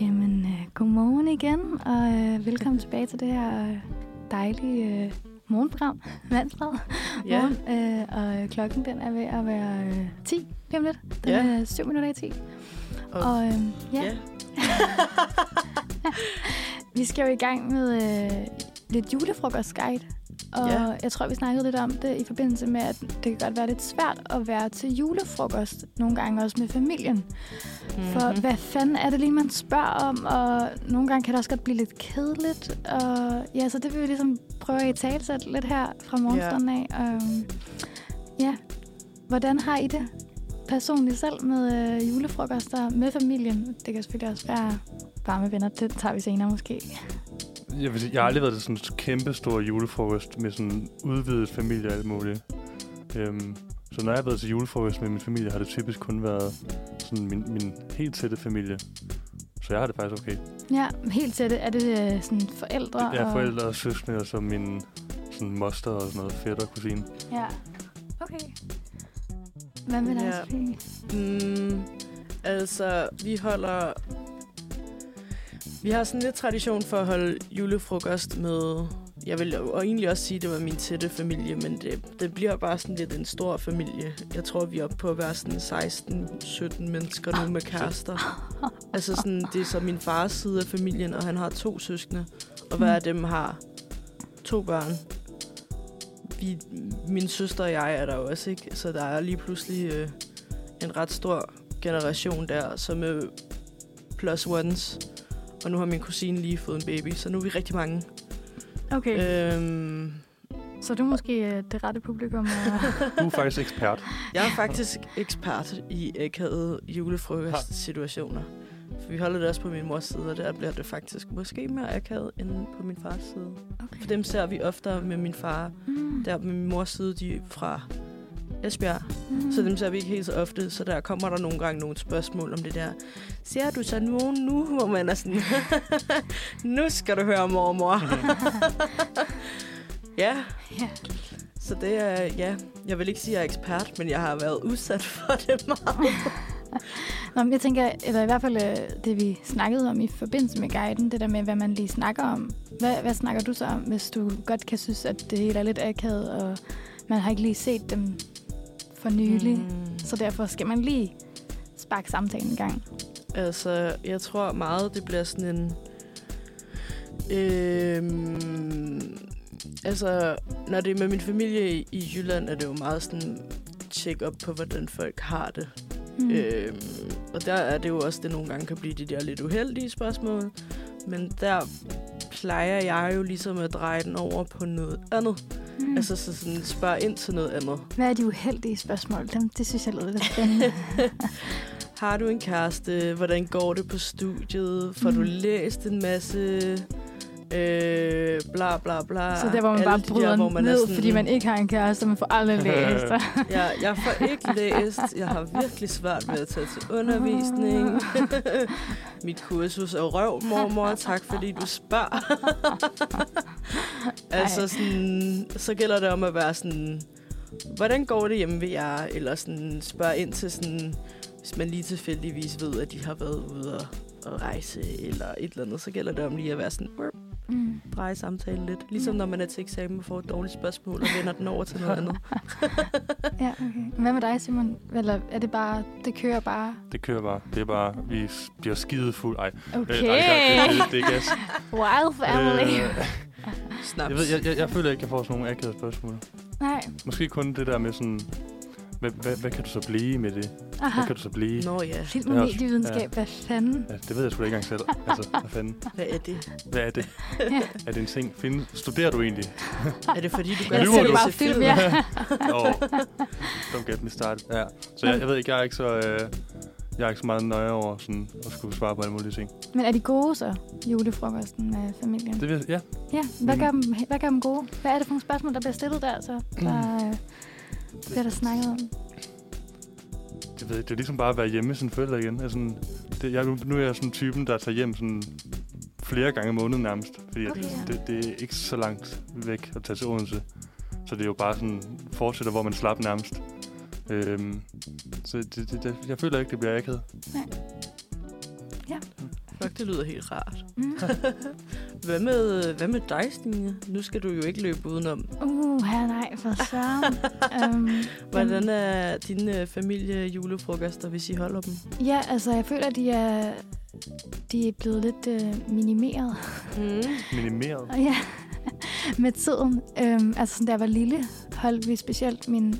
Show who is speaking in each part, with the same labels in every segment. Speaker 1: Jamen, øh, godmorgen igen, og øh, velkommen tilbage til det her øh, dejlige øh, morgenprogram, Mandsbred.
Speaker 2: Ja.
Speaker 1: Morgen, øh, og øh, klokken den er ved at være øh, 10 lige om lidt. Den
Speaker 2: Ja.
Speaker 1: er 7 minutter i 10.
Speaker 2: Og-
Speaker 1: Og øh, ja,
Speaker 2: ja.
Speaker 1: vi skal jo i gang med øh, lidt julefrokostguide. Og
Speaker 2: Ja.
Speaker 1: jeg tror, vi snakkede lidt om det i forbindelse med, at det kan godt være lidt svært at være til julefrokost nogle gange også med familien. For
Speaker 2: Mhm.
Speaker 1: mm-hmm. hvad fanden er det lige, man spørger om? Og nogle gange kan det også godt blive lidt kedeligt. Og ja, så det vil vi ligesom prøve at i tale lidt her fra morgenstunden af. Um, ja, hvordan har I det personligt selv med øh, julefrokoster med familien? Det kan selvfølgelig også være bare med venner. Det tager vi senere måske.
Speaker 3: Jeg, vil, sige, jeg har aldrig været til sådan en kæmpe stor julefrokost med sådan udvidet familie og alt muligt. Øhm, så når jeg har været til julefrokost med min familie, har det typisk kun været sådan min, min helt tætte familie. Så jeg har det faktisk okay.
Speaker 1: Ja, helt tætte. Er det øh, sådan forældre?
Speaker 3: Jeg har
Speaker 1: og-
Speaker 3: forældre og søskende, og så min sådan moster og sådan noget fætter og kusine.
Speaker 1: Ja, okay. Hvad med dig,
Speaker 2: Ja.
Speaker 1: Sofie?
Speaker 2: Mm, altså, vi holder... Vi har sådan lidt tradition for at holde julefrokost med... Jeg vil jo- og egentlig også sige, at det var min tætte familie, men det, det bliver bare sådan lidt en stor familie. Jeg tror, vi er oppe på at være sådan 16-17 mennesker nu med kærester. Altså sådan, det er så min fars side af familien, og han har to søskende. Og hver af dem har to børn. Vi, min søster og jeg er der jo også, ikke? Så der er lige pludselig... Øh, en ret stor generation der, som er plus ones. Og nu har min kusine lige fået en baby, så nu er vi rigtig mange.
Speaker 1: Okay, øh.
Speaker 2: Øhm,
Speaker 1: så du er måske øh, det rette publikum. Og...
Speaker 3: Du er faktisk ekspert.
Speaker 2: jeg er faktisk ekspert i akavede julefrokostsituationer. For vi holder det også på min mors side, og der bliver det faktisk måske mere akavet end på min fars side. For dem ser vi oftere med min far.
Speaker 1: Mm.
Speaker 2: Der på min mors side, de er fra Esbjerg.
Speaker 1: Mhm.
Speaker 2: Så dem ser vi ikke helt så ofte, så der kommer der nogle gange nogle spørgsmål om det der. Ser du så nogen nu, hvor man er sådan, nu skal du høre mormor. ja,
Speaker 1: Ja.
Speaker 2: så det er, ja, jeg vil ikke sige, at jeg er ekspert, men jeg har været udsat for det meget.
Speaker 1: Nå, men jeg tænker, eller i hvert fald øh, det, vi snakkede om i forbindelse med guiden, det der med, hvad man lige snakker om. Hvad, hvad snakker du så om, hvis du godt kan synes, at det hele er lidt akavet, og man har ikke lige set dem for nylig?
Speaker 2: Mhm.
Speaker 1: Mm. Så derfor skal man lige sparke samtalen en gang.
Speaker 2: Altså, jeg tror meget, det bliver sådan en... Øhm, altså, når det er med min familie i, i Jylland, er det jo meget sådan tjek op på, hvordan folk har det.
Speaker 1: Mm.
Speaker 2: Øhm, og der er det jo også, det nogle gange kan blive de der lidt uheldige spørgsmål. Men der plejer jeg jo ligesom at dreje den over på noget andet. Mm.
Speaker 1: Mm.
Speaker 2: Altså så sådan spørge ind til noget andet.
Speaker 1: Hvad er de uheldige spørgsmål? Dem, det synes jeg lyder lidt spændende.
Speaker 2: Har du en kæreste? Hvordan går det på studiet? Får mm. du
Speaker 1: Mm.
Speaker 2: læst en masse? Øh, bla bla bla.
Speaker 1: så der, hvor man
Speaker 2: Alle
Speaker 1: bare
Speaker 2: de
Speaker 1: bryder
Speaker 2: hvor man er
Speaker 1: ned,
Speaker 2: sådan,
Speaker 1: fordi man ikke har en kæreste, man får aldrig læst.
Speaker 2: Ja, jeg får ikke læst. Jeg har virkelig svært ved at tage til undervisning. Mit kursus er røv, mormor. Tak, fordi du spørger. altså, sådan, så gælder det om at være sådan... Hvordan går det hjemme ved jer? Eller sådan spørge ind til sådan... Hvis man lige tilfældigvis ved, at de har været ude og, og rejse eller et eller andet, så gælder det om lige at være sådan... "Burp",
Speaker 1: Mm.
Speaker 2: Dreje samtalen lidt. Ligesom når man er til eksamen og får et dårligt spørgsmål og vender den over til noget andet.
Speaker 1: Ja, okay. Hvad med dig, Simon? Eller er det bare, det kører bare?
Speaker 3: Det kører bare. Det er bare, vi s- bliver skide fuld. Ej,
Speaker 1: Okay.
Speaker 3: øh, ej det, er- det, er- det er gas.
Speaker 1: Wild family.
Speaker 3: Øh,
Speaker 2: Snaps.
Speaker 3: jeg, ved, jeg, jeg, jeg føler ikke, jeg får sådan nogle akavede spørgsmål.
Speaker 1: Nej.
Speaker 3: Måske kun det der med sådan, hvad, hvad, hvad kan du så blive med det?
Speaker 1: Aha.
Speaker 3: Hvad kan du så blive?
Speaker 2: Nå ja,
Speaker 1: Film
Speaker 3: Det
Speaker 1: og
Speaker 3: er også-
Speaker 1: medievidenskab, hvad fanden?
Speaker 3: Ja, det ved jeg sgu da ikke engang selv. Altså, hvad fanden?
Speaker 2: hvad er det?
Speaker 3: Hvad er det? Er det en ting? Find, studerer du egentlig?
Speaker 2: Er det fordi, du
Speaker 3: Jeg
Speaker 2: godt
Speaker 3: ser
Speaker 2: kan
Speaker 3: jo
Speaker 1: bare
Speaker 2: læse
Speaker 1: film, ja.
Speaker 3: Åh, oh, don't get me started. Ja. Så jeg, jeg ved ikke, jeg er ikke så... Øh, jeg er ikke så meget nøje over sådan, at skulle svare på alle mulige ting.
Speaker 1: Men er de gode så, julefrokosten med familien?
Speaker 3: Det vil, ja,
Speaker 1: Ja, hvad
Speaker 3: Mm. Mm.
Speaker 1: gør, dem, hvad gør dem gode? Hvad er det for nogle spørgsmål, der bliver stillet der, så der øh, bliver der snakket om?
Speaker 3: det, ved, jeg, det er ligesom bare at være hjemme med sine forældre igen. Altså, sådan, det, jeg, nu nu er jeg sådan typen, der tager hjem sådan flere gange om måneden nærmest. Fordi okay,
Speaker 1: Okay, ja.
Speaker 3: ja. det, det, er ikke så langt væk at tage til Odense. Så det er jo bare sådan, fortsætter, hvor man slap nærmest. Øhm, så det, det, det, jeg føler ikke, det bliver akavet.
Speaker 2: Fuck, det lyder helt rart.
Speaker 1: Mm.
Speaker 2: Hvad med, hvad med dig, Stine? Nu skal du jo ikke løbe udenom.
Speaker 1: Uh, her nej, for søren. um,
Speaker 2: Hvordan er dine øh, familie julefrokoster, hvis I holder dem?
Speaker 1: ja, altså, jeg føler, at de er, de er blevet lidt øh, minimeret.
Speaker 2: Mm.
Speaker 3: Minimeret.
Speaker 1: Og Ja, med tiden. Øhm, altså, sådan, da jeg var lille, holdt vi specielt min,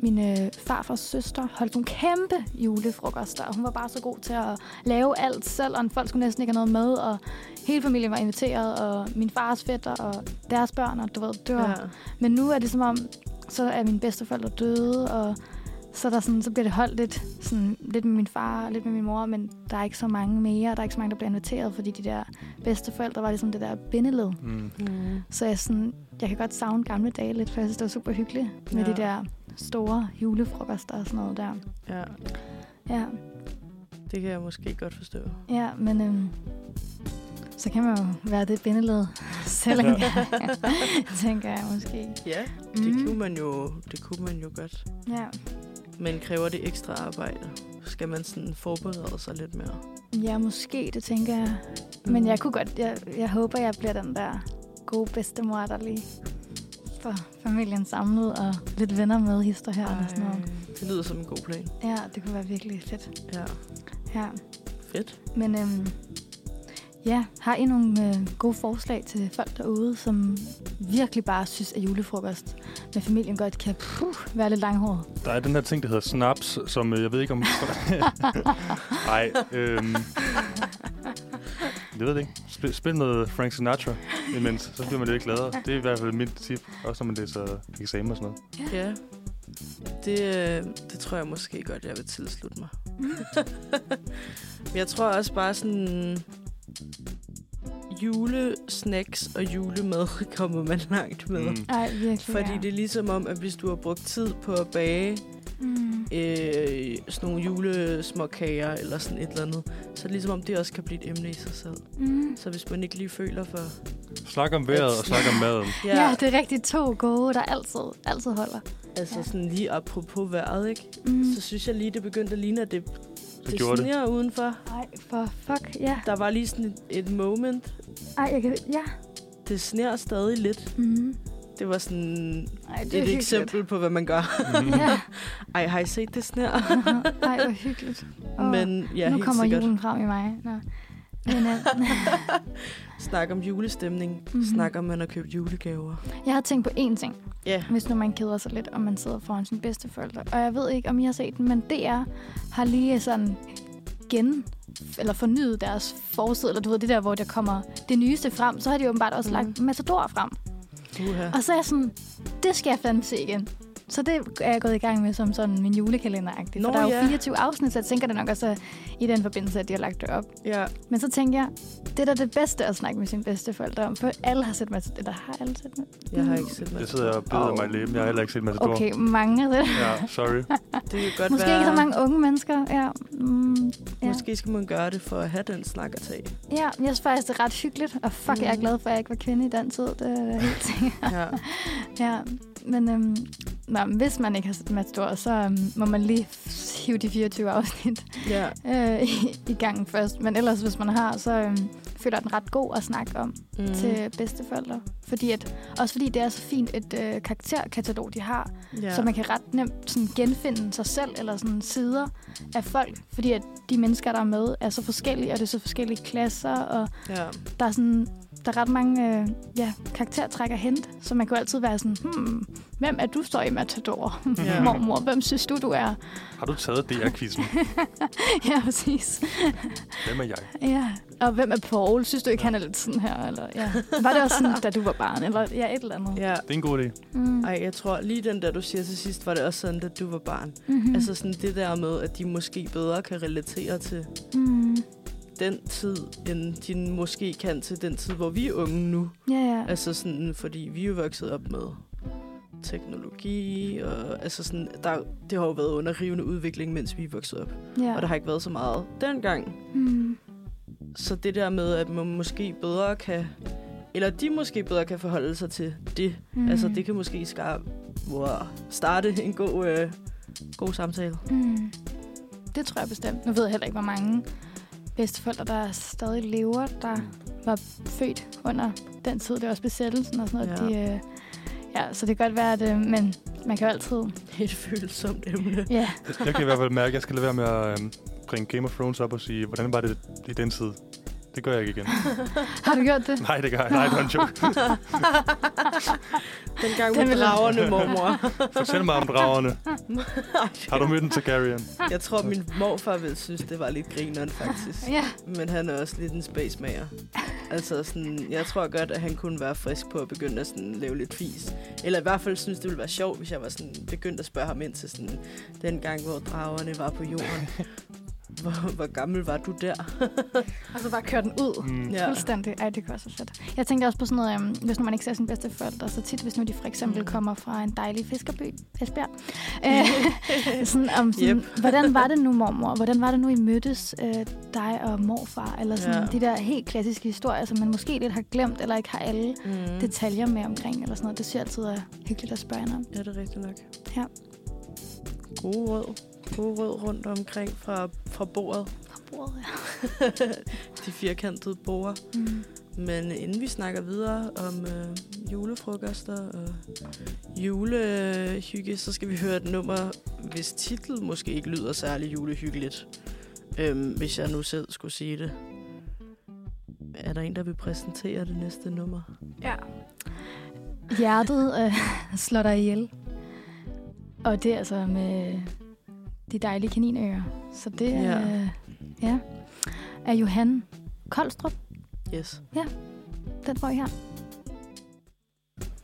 Speaker 1: min øh, farfars søster holdt nogle kæmpe julefrokoster, og hun var bare så god til at lave alt selv, og folk skulle næsten ikke have noget med, og hele familien var inviteret, og min fars fætter og deres børn, og du ved, det var... Ja.
Speaker 2: Ja.
Speaker 1: Men nu er det som om, så er mine bedsteforældre døde, og så, er der sådan, så bliver det holdt lidt, sådan, lidt med min far og lidt med min mor, men der er ikke så mange mere, der er ikke så mange, der bliver inviteret, fordi de der bedsteforældre var ligesom det der bindeled.
Speaker 3: Mm.
Speaker 2: Mm.
Speaker 1: Så jeg, sådan, jeg kan godt savne gamle dage lidt, for jeg synes, det var super hyggeligt med
Speaker 2: Ja.
Speaker 1: ja. de der store julefrokoster og sådan noget der.
Speaker 2: ja,
Speaker 1: Ja,
Speaker 2: det kan jeg måske godt forstå.
Speaker 1: ja men øhm, så kan man jo være det bindeled, selv
Speaker 3: Ja.
Speaker 1: ja. tænker jeg måske.
Speaker 2: Ja,
Speaker 1: Mm.
Speaker 2: det, kunne man jo, det kunne man jo godt.
Speaker 1: Ja.
Speaker 2: Men kræver det ekstra arbejde? Skal man sådan forberede sig lidt mere?
Speaker 1: ja, måske, det tænker jeg. Men
Speaker 2: Mm.
Speaker 1: jeg kunne godt, jeg, jeg håber, jeg bliver den der gode bedstemor, der lige får familien samlet og lidt venner med hister her og sådan noget.
Speaker 2: Det lyder som en god plan.
Speaker 1: Ja, det kunne være virkelig fedt.
Speaker 2: Ja,
Speaker 1: Ja.
Speaker 2: fedt.
Speaker 1: Men øhm, ja, har I nogle øh, gode forslag til folk derude, som virkelig bare synes, at julefrokost med familien godt kan puh, være lidt langhåret?
Speaker 3: Der er den her ting, der hedder snaps, som øh, jeg ved ikke om... Nej, øhm, jeg ved det ikke. Spil, spil noget Frank Sinatra imens, så bliver man lidt gladere. Det er i hvert fald mit tip, også når man læser eksamen og sådan noget.
Speaker 2: Ja, det, øh, det tror jeg måske godt, jeg vil tilslutte mig. Men jeg tror også bare sådan... Julesnacks og julemad kommer man langt med. Mm.
Speaker 1: Nej, virkelig.
Speaker 2: Fordi
Speaker 1: ja.
Speaker 2: det er ligesom om, at hvis du har brugt tid på at bage
Speaker 1: Mm.
Speaker 2: øh, sådan nogle julesmåkager eller sådan et eller andet, så er det ligesom om, det også kan blive et emne i sig selv.
Speaker 1: Mm.
Speaker 2: Så hvis man ikke lige føler for...
Speaker 3: Snak om vejret og snak om maden.
Speaker 1: Ja. ja, det er rigtigt to gode, der altid, altid holder.
Speaker 2: altså
Speaker 1: ja.
Speaker 2: sådan lige apropos vejret, ikke?
Speaker 1: Mm.
Speaker 2: Så synes jeg lige, det begyndte at ligne, at det, det
Speaker 3: gjorde det.
Speaker 2: sneer udenfor.
Speaker 1: Mm. Ej, for fuck, ja.
Speaker 2: Der var lige sådan et, et moment.
Speaker 1: Ej, jeg kan... Ja.
Speaker 2: Det sneer stadig lidt.
Speaker 1: Mm.
Speaker 2: Det var sådan
Speaker 1: Ej, det er
Speaker 2: et
Speaker 1: hyggeligt.
Speaker 2: eksempel på, hvad man gør.
Speaker 1: Ja.
Speaker 2: Ej, har I set det sneer?
Speaker 1: Ej, hvor hyggeligt. Åh,
Speaker 2: Men ja,
Speaker 1: nu
Speaker 2: helt
Speaker 1: kommer
Speaker 2: sikkert.
Speaker 1: julen frem i mig. Nå. Men, øh,
Speaker 2: Snak om julestemning. Mm-hmm.
Speaker 1: Mhm.
Speaker 2: Snak om, man har købt julegaver.
Speaker 1: jeg har tænkt på én ting.
Speaker 2: Ja,
Speaker 1: hvis nu man keder sig lidt, og man sidder foran sine bedsteforældre. Og jeg ved ikke, om I har set den, men DR har lige sådan gen eller fornyet deres forside, eller du ved, det der, hvor der kommer det nyeste frem, så har de åbenbart også
Speaker 2: Mhm.
Speaker 1: lagt Matador frem.
Speaker 2: uha.
Speaker 1: Og så er jeg sådan, det skal jeg fandme se igen. Så det er jeg gået i gang med som sådan min julekalender For
Speaker 2: Nå,
Speaker 1: der er jo
Speaker 2: ja.
Speaker 1: 24 afsnit, så jeg tænker det nok også i den forbindelse, at de har lagt det op.
Speaker 2: Ja,
Speaker 1: Men så tænker jeg, det er da det bedste at snakke med sine bedsteforældre om, for alle har set Matador. Eller har alle set Matador?
Speaker 2: jeg har ikke set mig.
Speaker 3: Jeg sidder og beder mig i læben. Jeg har heller ikke set Matador.
Speaker 1: Okay, mange har set
Speaker 3: Ja, sorry.
Speaker 2: Det kan godt
Speaker 1: Måske
Speaker 2: være,
Speaker 1: ikke så mange unge mennesker. Ja, mm, ja.
Speaker 2: Måske skal man gøre det for at have den snak at tage.
Speaker 1: ja jeg synes faktisk, det er ret hyggeligt. Og fuck, mm. jeg er
Speaker 2: Mm.
Speaker 1: glad for, at jeg ikke var kvinde i den tid. Det er helt ting.
Speaker 2: Ja.
Speaker 1: ja. Men øhm, nå, men hvis man ikke har set Matador, så øhm, må man lige hive de 24 afsnit
Speaker 2: ja.
Speaker 1: øh, i, i gang først. Men ellers, hvis man har, så øhm, føler jeg den ret god at snakke om
Speaker 2: Mm.
Speaker 1: mm. til bedsteforældre. Fordi at, også fordi det er så fint et øh, karakterkatalog, de har.
Speaker 2: ja.
Speaker 1: Ja. Så man kan ret nemt sådan genfinde sig selv eller sådan sider af folk, fordi at de mennesker, der er med, er så forskellige, og det er så forskellige klasser, og
Speaker 2: ja.
Speaker 1: der er, sådan, der er ret mange øh, ja, karaktertræk at hente, så man kan jo altid være sådan, hmm, hvem er du så i Matador?
Speaker 2: Ja.
Speaker 1: Ja. Mormor, hvem synes du, du er?
Speaker 3: Har du taget DR-quizzen?
Speaker 1: ja, præcis.
Speaker 3: Hvem er jeg?
Speaker 1: Ja. Og hvem er Paul? Synes du ikke, han er lidt sådan her? Eller, ja. Var det også sådan, da du var barn? Eller ja, et eller andet.
Speaker 2: ja.
Speaker 3: Det er en god idé.
Speaker 1: Mm.
Speaker 2: Ej, jeg tror lige den der, du siger til sidst, var det også sådan, da du var barn. Mm.
Speaker 1: Mm-hmm.
Speaker 2: Altså sådan det der med, at de måske bedre kan relatere til
Speaker 1: mm.
Speaker 2: den tid, end de måske kan til den tid, hvor vi er unge nu.
Speaker 1: Ja, ja.
Speaker 2: Altså sådan, fordi vi er jo vokset op med teknologi, og altså sådan, der, det har jo været under rivende udvikling, mens vi er vokset op. Ja.
Speaker 1: ja.
Speaker 2: Og der har ikke været så meget dengang.
Speaker 1: Mm.
Speaker 2: Så det der med, at man måske bedre kan, eller de måske bedre kan forholde sig til det,
Speaker 1: Mm.
Speaker 2: Altså, det kan måske skar, wow, starte en god øh, god samtale.
Speaker 1: Mm. Det tror jeg bestemt. Nu ved jeg heller ikke, hvor mange bedsteforældre, der stadig lever, der var født under den tid, det var også besættelsen og sådan noget. Ja. De, øh, ja, så det kan godt være, at øh, men man kan jo altid...
Speaker 2: Et følsomt emne.
Speaker 1: Ja,
Speaker 3: Jeg kan i hvert fald mærke, at jeg skal lade være med at øhm, bringe Game of Thrones op og sige, hvordan var det i den tid? Det gør jeg ikke igen.
Speaker 1: har du gjort det?
Speaker 3: Nej, det gør jeg. Nej, det var en joke.
Speaker 2: Dengang
Speaker 1: Den
Speaker 2: med
Speaker 1: vil-
Speaker 2: dragerne, mormor.
Speaker 3: Fortæl mig om dragerne. Har du mødt en Targaryen?
Speaker 2: Jeg tror, min morfar ville synes, det var lidt grineren, faktisk.
Speaker 1: Ja.
Speaker 2: Men han er også lidt en spacemager. Altså sådan, jeg tror godt, at han kunne være frisk på at begynde at sådan lave lidt fis. Eller i hvert fald synes, det ville være sjovt, hvis jeg var sådan begyndt at spørge ham ind til sådan, den gang, hvor dragerne var på jorden. Hvor, hvor gammel var du der?
Speaker 1: Og så bare køre den ud.
Speaker 3: Mm.
Speaker 2: Ja.
Speaker 1: Ja. Fuldstændig. Ej, det kan også være fedt. Jeg tænkte også på sådan noget, øhm, hvis nu man ikke ser sine bedste forældre, så tit, hvis nu de for eksempel
Speaker 2: Mm.
Speaker 1: mm. kommer fra en dejlig fiskerby, Esbjerg. Øh, sådan, om sådan, yep. hvordan var det nu, mormor? Hvordan var det nu, I mødtes, øh, dig og morfar? Eller sådan
Speaker 2: Ja.
Speaker 1: ja. de der helt klassiske historier, som man måske lidt har glemt, eller ikke har alle
Speaker 2: Mm.
Speaker 1: detaljer med omkring, eller sådan noget. Det synes jeg altid er hyggeligt at spørge hende om.
Speaker 2: Ja, det er rigtigt nok.
Speaker 1: Ja.
Speaker 2: Gode råd. Gode råd rundt omkring fra, fra bordet.
Speaker 1: Fra bordet, ja.
Speaker 2: De firkantede borer.
Speaker 1: Mm.
Speaker 2: Men inden vi snakker videre om øh, julefrokoster og julehygge, så skal vi høre et nummer, hvis titel måske ikke lyder særlig julehyggeligt. Øhm, hvis jeg nu selv skulle sige det. Er der en, der vil præsentere det næste nummer?
Speaker 1: Ja. Hjertet øh, slår dig ihjel. Og det er altså med de dejlige kaninører. Så det er,
Speaker 2: Ja.
Speaker 1: ja. Øh, ja, er Johan Koldstrup,
Speaker 2: Yes.
Speaker 1: den får I her.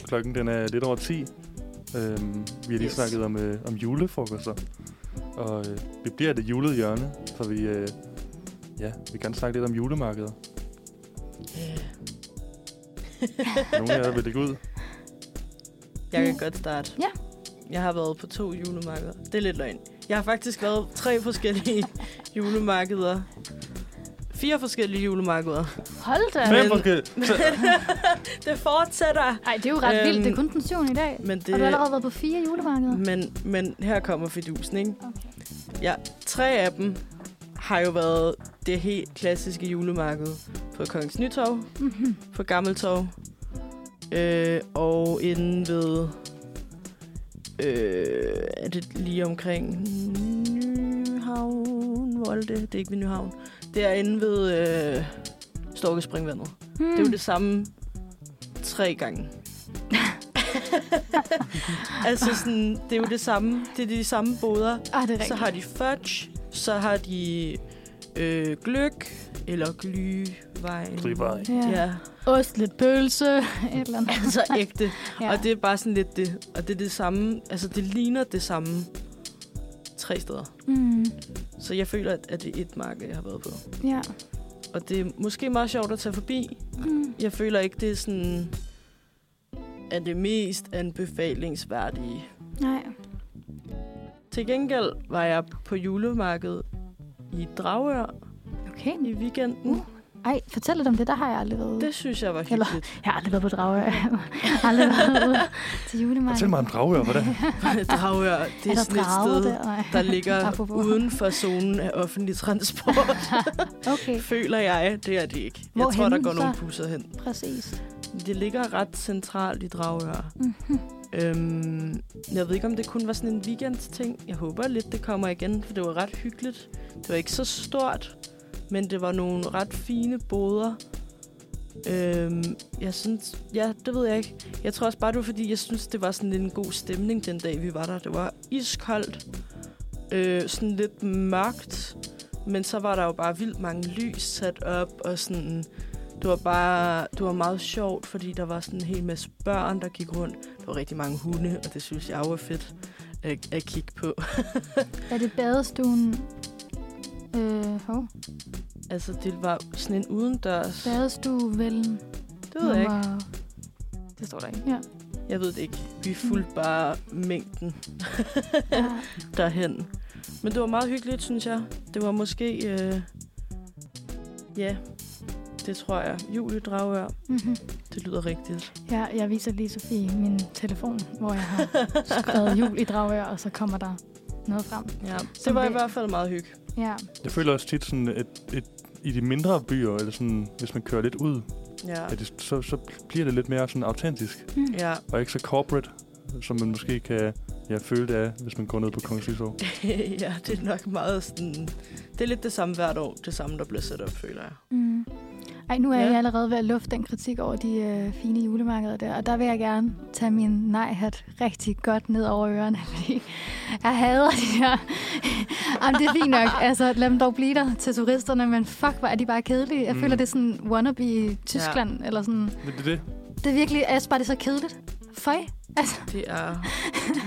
Speaker 3: Klokken den er lidt over 10. Øhm, vi har lige
Speaker 2: Yes.
Speaker 3: yes. snakket om, øh, om julefrokoster. Og øh, vi bliver det julede hjørne, for vi, øh, ja, vi kan snakke lidt om julemarkeder. Nogle af jer vil lægge ud.
Speaker 2: Jeg kan godt starte.
Speaker 1: Ja.
Speaker 2: Jeg har været på to julemarkeder. Det er lidt løgn. Jeg har faktisk været på tre forskellige julemarkeder. Fire forskellige julemarkeder.
Speaker 1: Hold da!
Speaker 3: Fem
Speaker 2: Men-
Speaker 3: forskellige. Så,
Speaker 2: Det fortsætter.
Speaker 1: Ej, det er jo ret
Speaker 2: Øhm,
Speaker 1: øhm, vildt. Det er kun den syvende i dag.
Speaker 2: Men det,
Speaker 1: Har du allerede været på fire julemarkeder?
Speaker 2: Men, men her kommer fidusen, ikke?
Speaker 1: Okay.
Speaker 2: Ja, tre af dem har jo været det helt klassiske julemarked på Kongens Nytorv,
Speaker 1: Mm-hmm.
Speaker 2: på Gammeltorv øh, og inde ved... Øh, er det lige omkring Nyhavn? Hvor er det? Det er ikke ved Nyhavn. Det er inde ved øh, Storkespringvandet. Mm. Det
Speaker 1: Hmm.
Speaker 2: er jo det samme tre gange. altså sådan, det er jo det samme. Det er de samme
Speaker 1: Ah,
Speaker 2: boder.
Speaker 1: det er rigtigt.
Speaker 2: Så har de fudge, så har de øh, gløk, eller glyvejen.
Speaker 3: Glühwein.
Speaker 1: Ja. ja.
Speaker 2: Ja,
Speaker 1: Ost, lidt pølse, et eller andet.
Speaker 2: altså ægte.
Speaker 1: Ja.
Speaker 2: Og det er bare sådan lidt det. Og det er det samme, altså det ligner det samme tre steder.
Speaker 1: Mm,
Speaker 2: Så jeg føler, at- at det er et marked, jeg har været på.
Speaker 1: ja.
Speaker 2: Og det er måske meget sjovt at tage forbi.
Speaker 1: Mm.
Speaker 2: Jeg føler ikke, det er sådan er det mest anbefalingsværdige.
Speaker 1: Nej.
Speaker 2: Til gengæld var jeg på julemarkedet i Dragør
Speaker 1: Okay.
Speaker 2: i weekenden.
Speaker 1: Uh. Ej, fortæl lidt om det. Der har jeg aldrig været.
Speaker 2: Det synes jeg var
Speaker 1: Eller-
Speaker 2: hyggeligt.
Speaker 1: Jeg har aldrig været på Dragør. Jeg har aldrig været ude til julemarkedet.
Speaker 3: fortæl mig om dragør, hvordan?
Speaker 2: Dragør, det er,
Speaker 1: er der
Speaker 2: sådan et
Speaker 1: drage
Speaker 2: sted,
Speaker 1: der? Nej.
Speaker 2: der ligger
Speaker 1: Apropos.
Speaker 2: uden for zonen af offentlig transport.
Speaker 1: Okay,
Speaker 2: Føler jeg, det er det ikke. Jeg
Speaker 1: Hvorhenne
Speaker 2: tror, der går
Speaker 1: så?
Speaker 2: nogle busser hen.
Speaker 1: præcis.
Speaker 2: Det ligger ret centralt i Dragør.
Speaker 1: Mhm.
Speaker 2: Øhm, jeg ved ikke, om det kun var sådan en weekendting. Jeg håber lidt, det kommer igen, for det var ret hyggeligt. Det var ikke så stort, men det var nogle ret fine boder. Øhm, jeg synes... Ja, det ved jeg ikke. Jeg tror også bare, det var fordi, jeg synes, det var sådan lidt en god stemning den dag, vi var der. Det var iskoldt. Øh, sådan lidt mørkt. Men så var der jo bare vildt mange lys sat op, og sådan... Det var bare det var meget sjovt, fordi der var sådan en hel masse børn, der gik rundt. Der var rigtig mange hunde, og det synes jeg jo er fedt at, at kigge på.
Speaker 1: Er det badestuen? Øh, hov.
Speaker 2: Altså, det var sådan en udendørs...
Speaker 1: Badestuevælden.
Speaker 2: Det ved jeg ikke.
Speaker 1: Det står der ikke. Ja.
Speaker 2: Jeg ved det ikke. Vi fulgte bare mængden
Speaker 1: ja.
Speaker 2: derhen. Men det var meget hyggeligt, synes jeg. Det var måske... Øh... Ja, det tror jeg. Julie Dragør.
Speaker 1: Mhm.
Speaker 2: Det lyder rigtigt.
Speaker 1: ja, jeg viser lige Sofie min telefon, hvor jeg har skrevet jul i Dragør, og så kommer der noget frem.
Speaker 2: Ja, det
Speaker 1: Som
Speaker 2: var i
Speaker 1: det-
Speaker 2: hvert fald meget hygge.
Speaker 1: Ja,
Speaker 3: Jeg føler også tit sådan, at et, i de mindre byer, eller sådan, hvis man kører lidt ud,
Speaker 2: Ja,
Speaker 3: at det, så, så bliver det lidt mere sådan autentisk,
Speaker 1: mm.
Speaker 2: ja.
Speaker 3: og ikke så corporate, som man måske kan ja, føle det er, hvis man går ned på Kongens Lysår.
Speaker 2: ja, det er nok meget sådan... Det er lidt det samme hvert år, det samme, der bliver sat op, føler jeg.
Speaker 1: Mm. Ej, nu er
Speaker 2: Ja.
Speaker 1: jeg allerede ved at lufte den kritik over de øh, fine julemarkeder der, og der vil jeg gerne tage min nej-hat rigtig godt ned over ørerne, fordi jeg hader de her... Jamen, det er fint nok. Altså, lad dem dog blive der til turisterne, men fuck, hvor er de bare kedelige. Jeg
Speaker 3: Mm.
Speaker 1: mm. føler, det er sådan wannabe i Tyskland, ja. eller sådan...
Speaker 3: Men det er det.
Speaker 1: Det er virkelig... Jeg synes bare, det er så kedeligt. Føj. Altså,
Speaker 2: Det er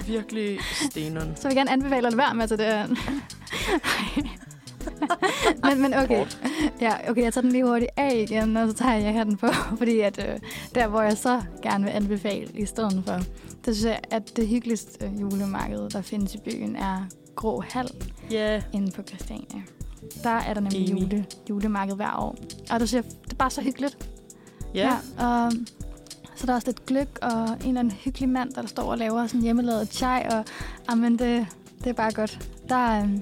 Speaker 2: virkelig steneren.
Speaker 1: så vil jeg gerne anbefale at være med til det her. men, men okay. Ja, okay, jeg tager den lige hurtigt af igen, og så tager jeg hatten på, fordi at, øh, der, hvor jeg så gerne vil anbefale i stedet for, der synes jeg, at det hyggeligste øh, julemarked, der findes i byen, er Grå Hal
Speaker 2: Ja,
Speaker 1: inde på Christiania. Der er der nemlig
Speaker 2: Enig.
Speaker 1: jule, julemarked hver år. Og du siger, det er bare så hyggeligt.
Speaker 2: ja.
Speaker 1: og så er der også lidt gløk, og en eller anden hyggelig mand, der står og laver sådan hjemmelavet chai, og amen, det, det er bare godt. Der, øhm,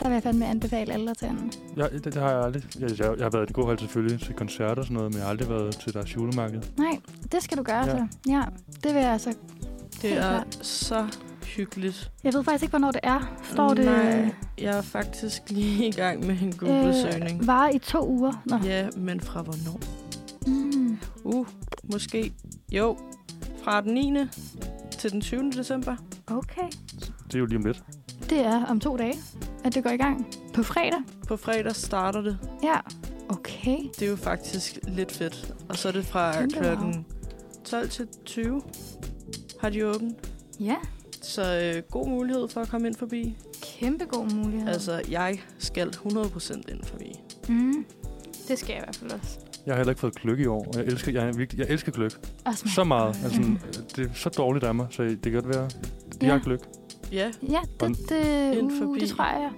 Speaker 1: der vil jeg fandme anbefale alle at tage den.
Speaker 3: Jeg, det, det har jeg aldrig. Jeg, jeg, jeg har været i det gode hold selvfølgelig til koncerter og sådan noget, men jeg har aldrig været til deres julemarked.
Speaker 1: Nej, det skal du gøre
Speaker 3: Ja.
Speaker 1: ja. så. Ja, det vil jeg altså.
Speaker 2: Det
Speaker 1: Helt
Speaker 2: er
Speaker 1: klart.
Speaker 2: så hyggeligt.
Speaker 1: Jeg ved faktisk ikke, hvornår det er. Står det øh,
Speaker 2: Nej, jeg er faktisk lige i gang med en Google-søgning.
Speaker 1: øh, varer i to uger? Nå.
Speaker 2: Ja, men fra hvornår?
Speaker 1: Mm.
Speaker 2: Uh, måske. Jo, fra den 9. til den 20. december.
Speaker 1: Okay.
Speaker 3: Det er jo lige om lidt.
Speaker 1: Det er om to dage, at det går i gang. På fredag?
Speaker 2: På fredag starter det.
Speaker 1: Ja. Okay.
Speaker 2: Det er jo faktisk lidt fedt. Og så er det fra
Speaker 1: Kæmpe
Speaker 2: klokken 12 til 20. Har de åbent.
Speaker 1: Ja,
Speaker 2: Så øh, god mulighed for at komme ind forbi.
Speaker 1: kæmpe god mulighed.
Speaker 2: Altså, jeg skal 100% ind forbi.
Speaker 1: Mm. Det skal jeg i hvert fald også.
Speaker 3: Jeg har heller ikke fået gløk i år, og jeg elsker, jeg, er virkelig, jeg elsker gløk
Speaker 1: også mig.
Speaker 3: så meget. Altså, sådan, det er så dårligt af mig, så det kan godt være, de
Speaker 1: Ja.
Speaker 3: har gløk.
Speaker 2: Ja,
Speaker 1: Ja, det, det,
Speaker 2: Ind
Speaker 1: uh,
Speaker 2: forbi.
Speaker 1: det tror jeg.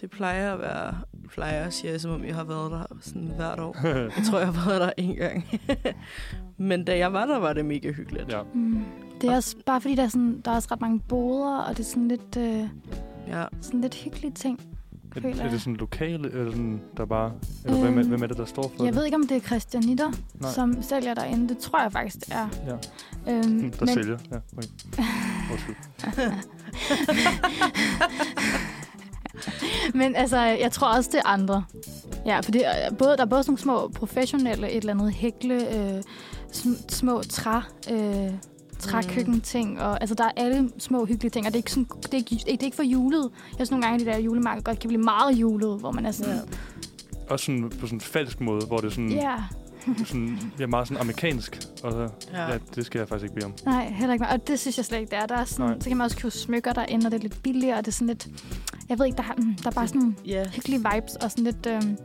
Speaker 2: det plejer at være... Plejer, siger jeg, som om jeg har været der sådan hvert år. Jeg tror, jeg har været der en gang. Men da jeg var der, var det mega hyggeligt.
Speaker 3: ja.
Speaker 1: Mm. Det er
Speaker 2: Og-
Speaker 1: også bare fordi, der er, sådan, der er også ret mange boder, og det er sådan lidt, øh,
Speaker 2: ja.
Speaker 1: sådan lidt hyggelige ting. Føler
Speaker 3: Er, er
Speaker 1: jeg.
Speaker 3: det sådan lokale, eller sådan, der bare... Eller hvem, er,
Speaker 1: Øhm,
Speaker 3: hvem er det, der står for
Speaker 1: Jeg
Speaker 3: det?
Speaker 1: ved ikke, om det er Christianitter,
Speaker 3: Nej.
Speaker 1: som sælger derinde. Det tror jeg faktisk, det er.
Speaker 3: Ja.
Speaker 1: Øhm,
Speaker 3: Hmm, Der sælger. Ja, okay. Undskyld.
Speaker 1: men altså, jeg tror også, det er andre. Ja, for det er, både, der er både sådan nogle små professionelle, et eller andet hækle, øh, sm- små træ, øh, trækøkken-ting, og altså, der er alle små hyggelige ting, og det er ikke, sådan, det er ikke, det er ikke for julet. Jeg synes nogle gange, at de der julemarkeder godt kan blive meget julet, hvor man er sådan,
Speaker 2: Ja.
Speaker 1: ja,
Speaker 3: Også sådan, på sådan en falsk måde, hvor det sådan,
Speaker 1: yeah.
Speaker 3: sådan bliver meget sådan amerikansk. Og så, ja. ja.
Speaker 2: ja.
Speaker 3: det skal jeg faktisk ikke bede om.
Speaker 1: Nej, heller ikke mig. Og det synes jeg slet ikke, det er. Der er sådan,
Speaker 3: Nej.
Speaker 1: så kan man også købe smykker derinde, og det er lidt billigere, og det er sådan lidt... Jeg ved ikke, der, er- mm, der er bare sådan nogle
Speaker 2: Ja,
Speaker 1: hyggelige vibes, og sådan lidt... Øhm,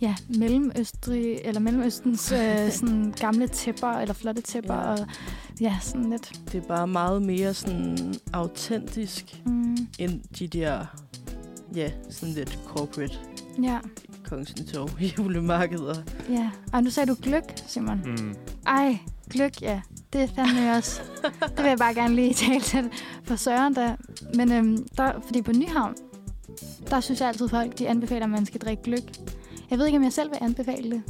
Speaker 1: ja, mellemøstrig, eller mellemøstens øh, sådan gamle tæpper, eller flotte tæpper,
Speaker 2: Ja.
Speaker 1: ja. og ja, sådan lidt...
Speaker 2: det er bare meget mere sådan autentisk,
Speaker 1: Mm,
Speaker 2: end de der, ja, sådan lidt corporate
Speaker 1: ja,
Speaker 2: Kongens Nytorv julemarkeder.
Speaker 1: ja. Og nu sagde du gløk, Simon. Mm.
Speaker 3: Mm.
Speaker 1: Ej, gløk, ja. Det er fandme også. Det vil jeg bare gerne lige tale til for Søren der. Men øhm, der, fordi på Nyhavn, der synes jeg altid folk, de anbefaler, at man skal drikke gløk. Jeg ved ikke, om jeg selv vil anbefale det.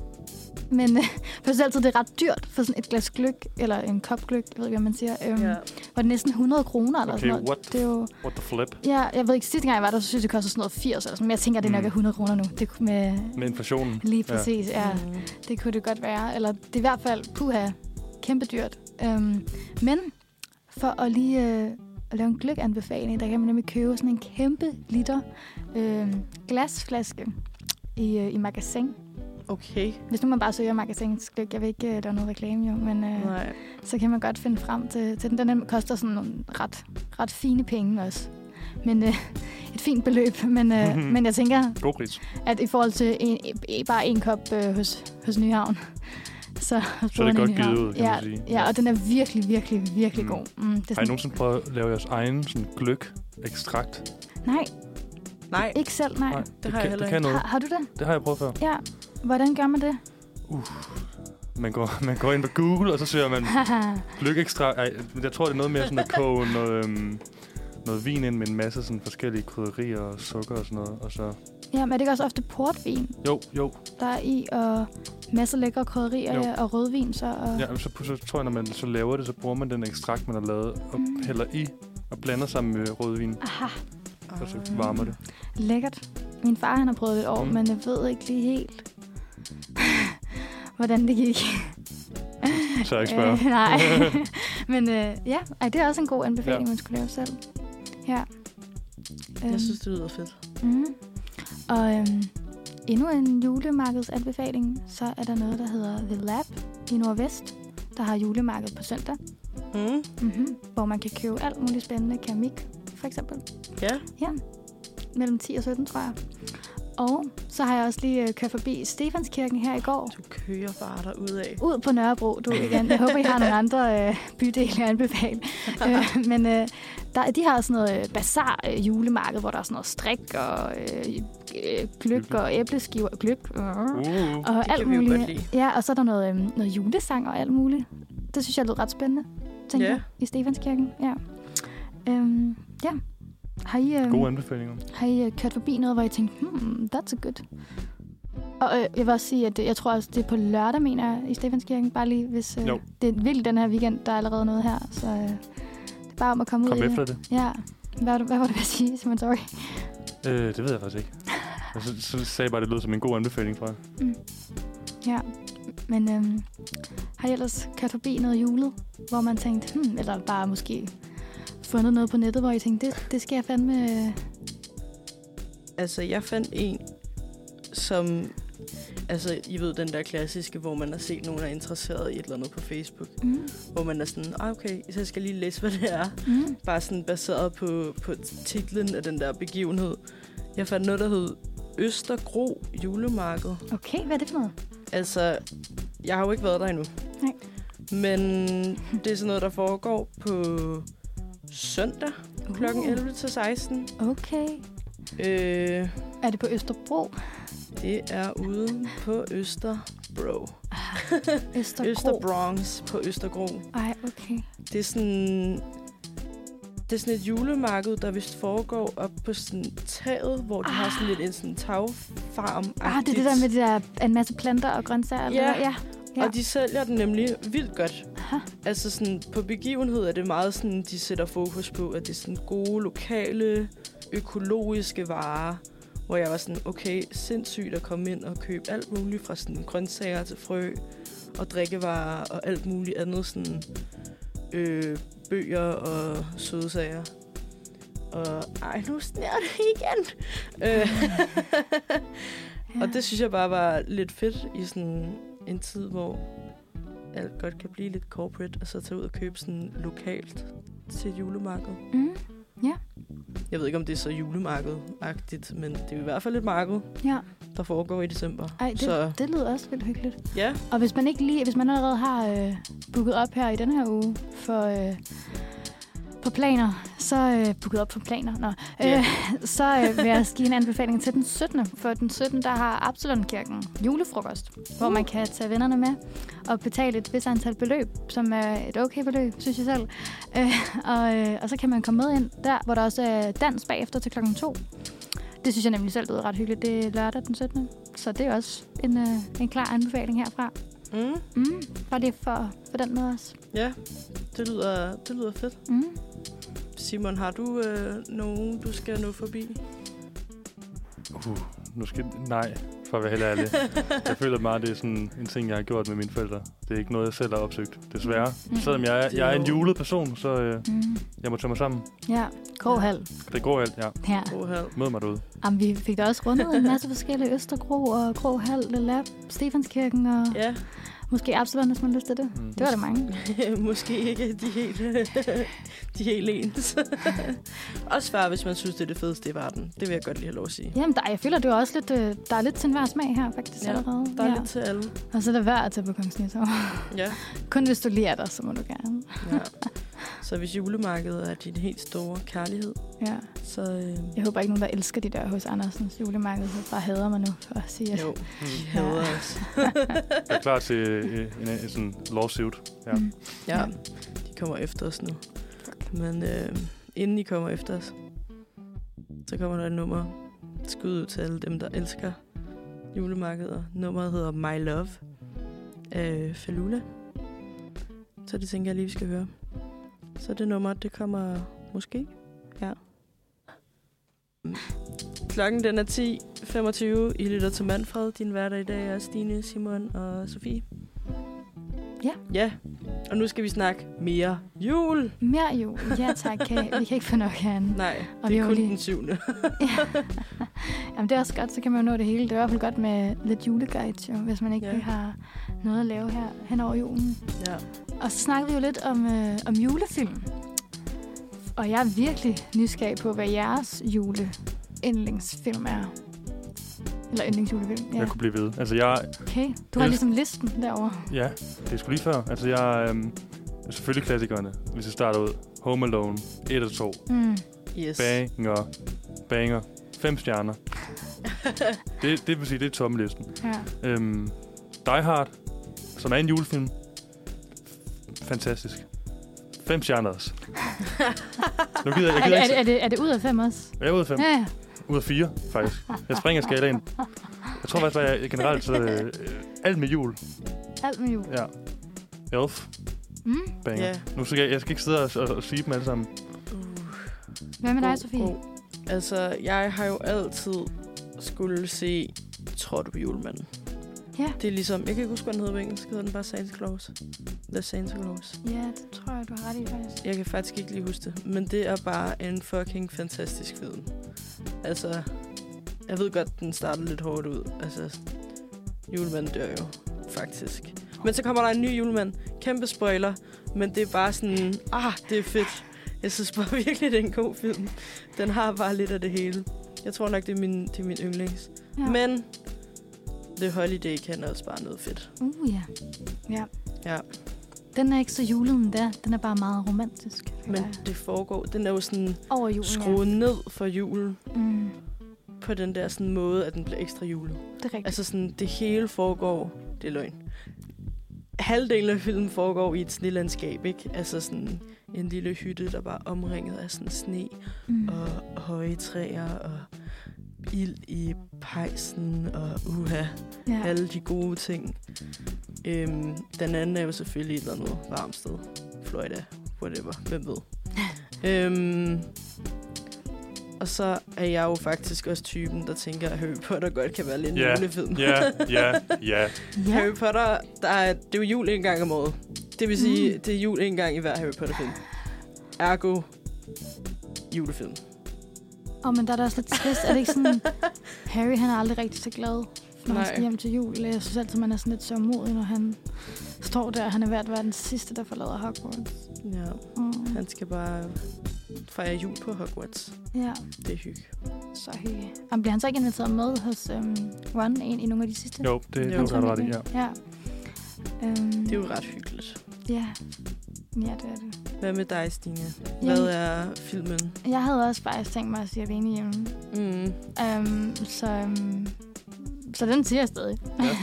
Speaker 1: Men øh, for jeg synes altid, det er ret dyrt for sådan et glas gløk, eller en kop gløk, jeg ved ikke, hvad man siger. Øhm,
Speaker 2: Ja.
Speaker 1: ja. Var det næsten 100 kroner eller
Speaker 3: Okay,
Speaker 1: sådan noget?
Speaker 3: what
Speaker 1: Det er jo,
Speaker 3: What the flip?
Speaker 1: ja, jeg ved ikke, sidste gang jeg var der, så synes jeg, det kostede sådan noget 80 eller sådan, men jeg tænker, at det nok
Speaker 3: Mm.
Speaker 1: er 100 kroner nu. Det kunne med,
Speaker 3: Med inflationen.
Speaker 1: lige
Speaker 3: Ja.
Speaker 1: præcis, ja. ja.
Speaker 2: Mm.
Speaker 1: Det kunne det godt være. Eller det er i hvert fald, puha, kæmpe dyrt. Øhm, men for at lige øh, at lave en gløk-anbefaling, der kan man nemlig købe sådan en kæmpe liter øh, glasflaske i, øh, i magasin.
Speaker 2: Okay,
Speaker 1: Hvis nu man bare søger magasins gløk, jeg vil ikke øh, lave noget reklame jo, men øh,
Speaker 2: nej.
Speaker 1: så kan man godt finde frem til, til den. Den nemlig koster sådan nogle ret, ret fine penge også. Men øh, et fint beløb, men, øh, men jeg tænker,
Speaker 3: God pris.
Speaker 1: at i forhold til en, e- bare en kop øh, hos, hos Nyhavn, så, hos
Speaker 3: Så er det
Speaker 1: brødrene
Speaker 3: godt
Speaker 1: i Nyhavn.
Speaker 3: givet ud, kan
Speaker 1: ja,
Speaker 3: man sige.
Speaker 1: Ja, og den er virkelig, virkelig, virkelig
Speaker 3: Mm.
Speaker 1: mm. god. Mm, det er
Speaker 3: Har I
Speaker 1: sådan,
Speaker 3: nogensinde prøvet at lave jeres egen sådan, gløk ekstrakt?
Speaker 1: nej,
Speaker 2: Nej,
Speaker 1: ikke selv, nej. nej
Speaker 2: har
Speaker 3: det,
Speaker 2: jeg
Speaker 3: kan,
Speaker 2: heller
Speaker 3: det kan noget.
Speaker 1: har, har du det?
Speaker 3: Det har jeg prøvet før.
Speaker 1: Ja. Hvordan gør man det?
Speaker 3: Man går, man går ind på Google, og så søger man gløk ekstra. Ej, jeg tror, det er noget mere sådan at koge noget, øhm, noget vin ind med en masse sådan forskellige krydderier og sukker og sådan noget. Og så,
Speaker 1: Ja, men er det ikke også ofte portvin,
Speaker 3: jo, jo.
Speaker 1: der er i, og masser af lækre krydderier
Speaker 3: Jo.
Speaker 1: ja, og rødvin, så... Og...
Speaker 3: Ja, men så, så tror jeg, når man så laver det, så bruger man den ekstrakt, man har lavet, og
Speaker 1: Mm.
Speaker 3: hælder i og blander sammen med rødvin,
Speaker 1: Aha,
Speaker 3: og så varmer det.
Speaker 1: lækkert. Min far, han har prøvet det et år,
Speaker 3: Mm.
Speaker 1: mm. men jeg ved ikke lige helt, hvordan det gik.
Speaker 3: Så jeg ikke spørger.
Speaker 1: Øh, nej. men øh, ja, ej, det er også en god anbefaling,
Speaker 3: Ja.
Speaker 1: ja. man skulle lave selv. Ja. Øhm,
Speaker 2: Jeg synes, det lyder fedt.
Speaker 1: Mm. Og øhm, endnu en julemarkedsanbefaling, så er der noget, der hedder The Lab i Nordvest, der har julemarked på søndag,
Speaker 2: Mm.
Speaker 1: mm-hmm. hvor man kan købe alt muligt spændende keramik, for eksempel.
Speaker 2: Ja.
Speaker 1: Mellem 10 og 17, tror jeg. Og så har jeg også lige øh, kørt forbi Stefanskirken her i går.
Speaker 2: Du kører bare derudad.
Speaker 1: Ud på Nørrebro, du igen. Jeg håber, I har nogle andre øh, bydele at anbefale. øh, men øh, der, de har sådan noget øh, bazar øh, julemarked, hvor der er sådan noget strik og øh, øh, gløk og æbleskiver. Gløk. Øh, og
Speaker 3: Uh.
Speaker 2: kan
Speaker 1: alt
Speaker 2: vi jo
Speaker 1: muligt.
Speaker 2: godt lide.
Speaker 1: Ja, og så er der noget, øh, noget julesang og alt muligt. Det synes jeg lød ret spændende, tænker
Speaker 2: Ja.
Speaker 1: yeah. jeg, i Stefanskirken. Ja. Øhm, ja. Har I, øhm,
Speaker 3: Gode anbefalinger.
Speaker 1: har I øh, kørt forbi noget, hvor I tænkte, hmm, that's a good? Og øh, jeg vil også sige, at øh, jeg tror også, det er på lørdag, mener jeg, i Stefanskirken. Bare lige, hvis øh,
Speaker 3: Jo.
Speaker 1: det er vildt den her weekend, der er allerede noget her. Så øh, det er bare om at komme
Speaker 3: Kom
Speaker 1: ud i
Speaker 3: efter
Speaker 1: det.
Speaker 3: det.
Speaker 1: Ja. Hvad, var du- hvad var det, jeg sige, Simon? Sorry.
Speaker 3: Øh, det ved jeg faktisk ikke. Og så, så sagde jeg bare, at det lød som en god anbefaling, tror jeg.
Speaker 1: Ja. Men øh, har I ellers kørt forbi noget julet, hvor man tænkte, hmm, eller bare måske fundet noget på nettet, hvor I tænkte, det, det skal jeg fandme... øh,
Speaker 2: Altså, jeg fandt en, som... Altså, I ved den der klassiske, hvor man har set, at nogen er interesseret i et eller andet på Facebook.
Speaker 1: Mm,
Speaker 2: Hvor man er sådan, ah, okay, så skal jeg lige læse, hvad det er.
Speaker 1: mm,
Speaker 2: Bare sådan baseret på, på titlen af den der begivenhed. Jeg fandt noget, der hed Østergro julemarked.
Speaker 1: okay, hvad er det for noget?
Speaker 2: Altså, jeg har jo ikke været der endnu.
Speaker 1: Nej.
Speaker 2: Men det er sådan noget, der foregår på søndag kl.
Speaker 1: Uh.
Speaker 2: 11 til 16.
Speaker 1: Okay.
Speaker 2: Øh,
Speaker 1: Er det på Østerbro?
Speaker 2: det er ude på Østerbro.
Speaker 1: Østerbro.
Speaker 2: Østerbronx på Østergro.
Speaker 1: Ej, okay.
Speaker 2: Det er sådan... Det er sådan et julemarked, der vist foregår op på sådan taget, hvor de ah. har sådan lidt en sådan tagfarm
Speaker 1: Ah, det er det der med de der, en masse planter og grøntsager. eller
Speaker 2: Ja.
Speaker 1: hvad? ja.
Speaker 2: Ja.
Speaker 1: Ja.
Speaker 2: Og de sælger den nemlig vildt godt.
Speaker 1: Aha.
Speaker 2: Altså sådan, på begivenhed er det meget sådan, de sætter fokus på, at det er sådan gode, lokale, økologiske varer. Hvor jeg var sådan, okay, sindssygt at komme ind og købe alt muligt fra sådan grøntsager til frø og drikkevarer og alt muligt andet sådan øh, bøger og sødsager. Og ej, nu sner det igen. Øh,
Speaker 1: ja.
Speaker 2: og det synes jeg bare var lidt fedt i sådan en tid, hvor alt godt kan blive lidt corporate, og så tage ud og købe sådan lokalt til julemarkedet.
Speaker 1: Mm.
Speaker 2: Jeg ved ikke, om det er så julemarked-agtigt, men det er i hvert fald et marked,
Speaker 1: ja.
Speaker 2: der foregår i december.
Speaker 1: Ej, det,
Speaker 2: Så
Speaker 1: det lyder også vildt hyggeligt.
Speaker 2: ja,
Speaker 1: Og hvis man ikke lige, hvis man allerede har øh, booket op her i den her uge for øh, på planer, så øh, booket op for planer, Nå,
Speaker 2: Ja.
Speaker 1: øh, så øh, vil jeg også give en anbefaling til den 17. For den 17. der har Absalonkirken julefrokost, hvor man kan tage vennerne med og betale et vis antal beløb, som er et okay beløb, synes jeg selv. Øh, og, øh, og så kan man komme med ind der, hvor der også er dans bagefter til klokken 2. Det synes jeg nemlig selv lyder ret hyggeligt. Det er lørdag den 17. Så det er også en, øh, en klar anbefaling herfra.
Speaker 2: mm,
Speaker 1: Mm, bare det for, for den måde også.
Speaker 2: ja det, lyder, det lyder fedt.
Speaker 1: Mm.
Speaker 2: Simon, har du øh, nogen, du skal nå forbi?
Speaker 3: Uh, nu skal... Nej, for at være helt ærlig. jeg føler meget, det er sådan en ting, jeg har gjort med mine forældre. Det er ikke noget, jeg selv har opsøgt, desværre.
Speaker 1: Mm.
Speaker 3: Selvom jeg, er-
Speaker 2: Det er
Speaker 3: jeg er en
Speaker 2: jo-
Speaker 3: julet person, så øh,
Speaker 1: Mm.
Speaker 3: jeg må tage mig sammen.
Speaker 1: Ja, Krohal.
Speaker 3: Det går alt, ja.
Speaker 1: Ja.
Speaker 2: Åh,
Speaker 3: Mød mig derude.
Speaker 1: Jamen, vi fik da også rundet en masse forskellige Østergro og Krohal, Le Lab, Stefanskirken og ja.
Speaker 2: Ja,
Speaker 1: måske Absalon, hvis man har lyst til det.
Speaker 3: Mm.
Speaker 1: Det var det mange.
Speaker 2: måske ikke de helt, de helt ens. Også bare, hvis man synes, det er det fedeste i verden. Det vil jeg godt lige have lov at sige.
Speaker 1: Jamen, der, jeg føler, det er også lidt, øh, der er lidt til enhver smag her, faktisk
Speaker 2: Ja,
Speaker 1: ja, allerede.
Speaker 2: Der er ja. lidt til alle.
Speaker 1: Og så er der værd at tage på Kongens Nytorv.
Speaker 2: Ja.
Speaker 1: Kun hvis du lige er der, så må du gerne.
Speaker 2: ja. Så hvis julemarkedet er din helt store kærlighed,
Speaker 1: Ja.
Speaker 2: så øh,
Speaker 1: Jeg håber ikke, nogen der elsker de der hos Andersens julemarked, så bare hader mig nu for at sige, at
Speaker 2: jo, de
Speaker 1: Ja.
Speaker 2: hader os.
Speaker 3: Jeg er klar til øh, en, en, en sådan lawsuit. Ja.
Speaker 1: Mm.
Speaker 2: Ja,
Speaker 1: Ja.
Speaker 2: de kommer efter os nu. Men øh, inden I kommer efter os, så kommer der et nummer. Skud ud til alle dem, der elsker julemarkeder. Nummeret hedder My Love af Falula. Så det tænker jeg lige, vi skal høre. Så det nummer, det kommer måske her. Klokken den er 10.25. I lytter til Manfred. Din hverdag i dag er Stine, Simon og Sofie.
Speaker 1: Ja.
Speaker 2: Ja, og nu skal vi snakke mere jul.
Speaker 1: Mere jul. Ja tak, kan, vi kan ikke få nok herinde.
Speaker 2: Nej,
Speaker 1: Og
Speaker 2: det
Speaker 1: vi
Speaker 2: er
Speaker 1: har
Speaker 2: kun
Speaker 1: lige-
Speaker 2: den syvende.
Speaker 1: Ja. Jamen, det er også godt, så kan man jo nå det hele. Det er i hvert fald godt med lidt juleguide, jo, hvis man ikke
Speaker 2: Ja.
Speaker 1: ja. har noget at lave her hen over julen.
Speaker 2: ja.
Speaker 1: Og så snakkede vi jo lidt om, øh, om julefilm. Og jeg er virkelig nysgerrig på, hvad jeres jule yndlingsfilm er. Eller yndlingsjulefilm, ja.
Speaker 3: Jeg kunne blive ved. Altså, jeg,
Speaker 1: Okay, du har
Speaker 3: Yes.
Speaker 1: ligesom listen derovre.
Speaker 3: ja, det er sgu lige før. Altså, jeg, øhm, selvfølgelig klassikerne, hvis jeg starter ud. Home Alone, 1 og 2.
Speaker 1: Mm.
Speaker 2: Yes.
Speaker 3: Banger, banger, 5 stjerner. det, det vil sige, det er topplisten.
Speaker 1: Ja.
Speaker 3: Øhm, Die Hard, som er en julefilm. Fantastisk. Fem stjerner også. nu gider jeg, jeg
Speaker 1: Er, det- er,
Speaker 3: gider
Speaker 1: det-
Speaker 3: ikke...
Speaker 1: er, det, er det ud af fem også?
Speaker 3: Jeg er ud af fem.
Speaker 1: Ja, ja.
Speaker 3: Ud af fire, faktisk. Jeg springer skalaen. Jeg tror faktisk, at jeg generelt så... Øh, øh, alt med jul.
Speaker 1: Alt med jul.
Speaker 3: Ja. Elf.
Speaker 1: Mm.
Speaker 3: Banger.
Speaker 2: Ja.
Speaker 3: Nu skal jeg, jeg skal ikke sidde og, og, og sige dem alle sammen.
Speaker 1: Hvad med
Speaker 2: God,
Speaker 1: dig, Sofie?
Speaker 2: god. Altså, jeg har jo altid skulle se Tror du på julemanden?
Speaker 1: Ja.
Speaker 2: Det er ligesom, jeg kan ikke huske, hvad den hedder på engelsk. Hedder den bare Santa Claus? The Santa Claus.
Speaker 1: Ja, det tror jeg, du har ret i, faktisk.
Speaker 2: Jeg kan faktisk ikke lige huske det, men det er bare en fucking fantastisk film. Altså, jeg ved godt, den starter lidt hårdt ud. Altså, julemanden dør jo, faktisk. Men så kommer der en ny julemand. Kæmpe spoiler, men det er bare sådan, ah, det er fedt. Jeg synes bare virkelig, det er en god film. Den har bare lidt af det hele. Jeg tror nok, det er min, det er min yndlings.
Speaker 1: Ja.
Speaker 2: Ja. Men The Holiday kan også bare noget fedt.
Speaker 1: Uh, ja. ja.
Speaker 2: Ja.
Speaker 1: Den er ikke så julet endda. Den er bare meget romantisk. føler
Speaker 2: Men
Speaker 1: jeg.
Speaker 2: det foregår, den er jo sådan
Speaker 1: Over julen,
Speaker 2: skruet ned for julen.
Speaker 1: ja. Mm,
Speaker 2: på den der sådan måde, at den bliver ekstra julet.
Speaker 1: det er rigtigt.
Speaker 2: Altså sådan, det hele foregår, det er løgn. Halvdelen af filmen foregår i et snelandskab, ikke? Altså sådan en lille hytte, der bare er omringet af sådan sne
Speaker 1: mm.
Speaker 2: og høje træer og ild i pejsen og uha,
Speaker 1: ja.
Speaker 2: alle de gode ting. Øhm, den anden er jo selvfølgelig et eller andet varmt sted. Florida, whatever, hvem ved. øhm, og så er jeg jo faktisk også typen, der tænker, at Harry Potter godt kan være lidt
Speaker 3: Ja,
Speaker 2: yeah. julefilm.
Speaker 3: Ja, ja, ja.
Speaker 1: ja.
Speaker 2: Harry Potter, der er, det er jo jul en gang om året. Det vil sige,
Speaker 1: Mm.
Speaker 2: mm. det er jul en gang i hver Harry Potter-film. Ergo, julefilm.
Speaker 1: Og men der er da også lidt trist. Er det ikke sådan, Harry han er aldrig rigtig så glad, når
Speaker 2: Nej.
Speaker 1: han skal hjem til jul. Jeg synes altid, man er sådan lidt så modig, når han står der. Han er ved at være den sidste, der forlader Hogwarts.
Speaker 2: Ja,
Speaker 1: Mm.
Speaker 2: han skal bare fejre jul på Hogwarts.
Speaker 1: Mm. Ja,
Speaker 2: Det er hygge.
Speaker 1: så hyggeligt. Og bliver han så ikke inviteret med hos øhm, Ron en, i nogle af de sidste?
Speaker 3: Jo, det
Speaker 2: Jo.
Speaker 3: er jo, ret i. Ja.
Speaker 1: ja. Øhm,
Speaker 2: Det er jo ret hyggeligt.
Speaker 1: Ja. ja, det er det.
Speaker 2: Hvad med dig, Stine? Hvad
Speaker 1: Jamen,
Speaker 2: er filmen?
Speaker 1: jeg havde også faktisk tænkt mig at sige alene hjemme.
Speaker 2: Mm.
Speaker 1: Øhm, så, øhm, så den siger jeg stadig.
Speaker 3: Ja.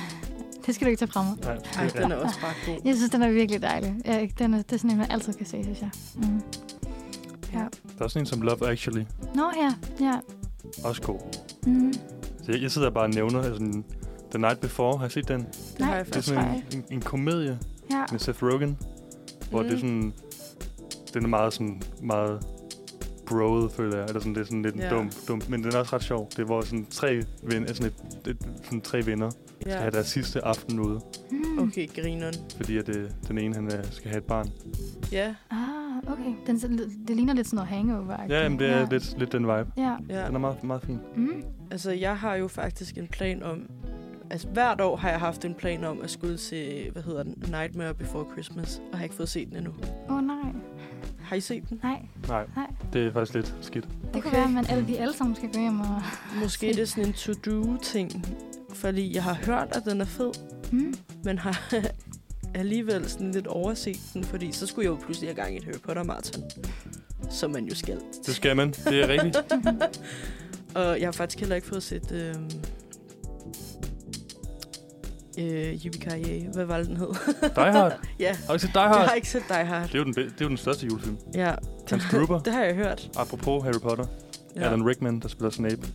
Speaker 1: det skal du ikke tage fra mig.
Speaker 3: Nej,
Speaker 2: Ej,
Speaker 3: det,
Speaker 2: den er også bare god.
Speaker 1: Jeg synes, den er virkelig dejlig. Jeg, den er, det er sådan en, man altid kan se, synes jeg. Mm.
Speaker 3: der er sådan en som Love Actually.
Speaker 1: Nå ja, ja.
Speaker 3: Også god.
Speaker 1: Mm.
Speaker 3: Så jeg, jeg sidder bare og nævner altså, den- The Night Before. Har I set den? Det
Speaker 2: Det har
Speaker 1: Nej,
Speaker 2: jeg
Speaker 3: er
Speaker 2: faktisk.
Speaker 1: tror
Speaker 3: sådan
Speaker 1: jeg
Speaker 3: en, en, en komedie
Speaker 1: Ja,
Speaker 3: med Seth Rogen, hvor
Speaker 2: Mm.
Speaker 3: det er sådan... Den er meget sådan... Meget broet, føler jeg. Eller sådan, det er sådan lidt
Speaker 2: Ja.
Speaker 3: yeah. dum, dum. Men den er også ret sjov. Det er, hvor sådan tre, ven, altså sådan et, et, sådan tre venner skal
Speaker 2: Ja.
Speaker 3: have deres sidste aften ude.
Speaker 1: Mm.
Speaker 2: Mm. Okay, grineren.
Speaker 3: Fordi at, øh, den ene, han øh, skal have et barn.
Speaker 2: Ja,
Speaker 1: Ah, okay. Den, det ligner lidt sådan noget hangover
Speaker 3: Ja, jamen, det er ja. lidt, lidt den vibe.
Speaker 1: Ja.
Speaker 2: ja.
Speaker 3: Den er meget, meget fin.
Speaker 1: Mm.
Speaker 2: Altså, jeg har jo faktisk en plan om... Altså, hvert år har jeg haft en plan om at skulle se, hvad hedder den, Nightmare Before Christmas, og har ikke fået set den endnu.
Speaker 1: Åh, oh, nej.
Speaker 2: Har I set den?
Speaker 1: Nej,
Speaker 3: Nej,
Speaker 1: Nej.
Speaker 3: det er faktisk lidt skidt.
Speaker 1: det okay. kunne
Speaker 2: Okay.
Speaker 1: være, at man alle, vi alle sammen skal gå hjem og...
Speaker 2: Måske det er sådan en to-do-ting, fordi jeg har hørt, at den er fed,
Speaker 1: Mm.
Speaker 2: men har alligevel sådan lidt overset den, fordi så skulle jeg jo pludselig have gang i et Harry Potter-marathon, som man jo skal.
Speaker 3: Det skal man. Det er rigtigt.
Speaker 2: Og jeg har faktisk heller ikke fået set... Øh, øh, Yippie Hvad var det, den hed?
Speaker 3: Die Hard.
Speaker 2: ja,
Speaker 3: Har du ikke set Die
Speaker 2: jeg
Speaker 3: Hard?
Speaker 2: har ikke set Die Hard.
Speaker 3: Det er jo den, be- det er jo den største julefilm.
Speaker 2: Ja,
Speaker 3: Hans Gruber,
Speaker 2: Det har jeg hørt.
Speaker 3: apropos Harry Potter. Ja. Alan Rickman, der spiller Snape,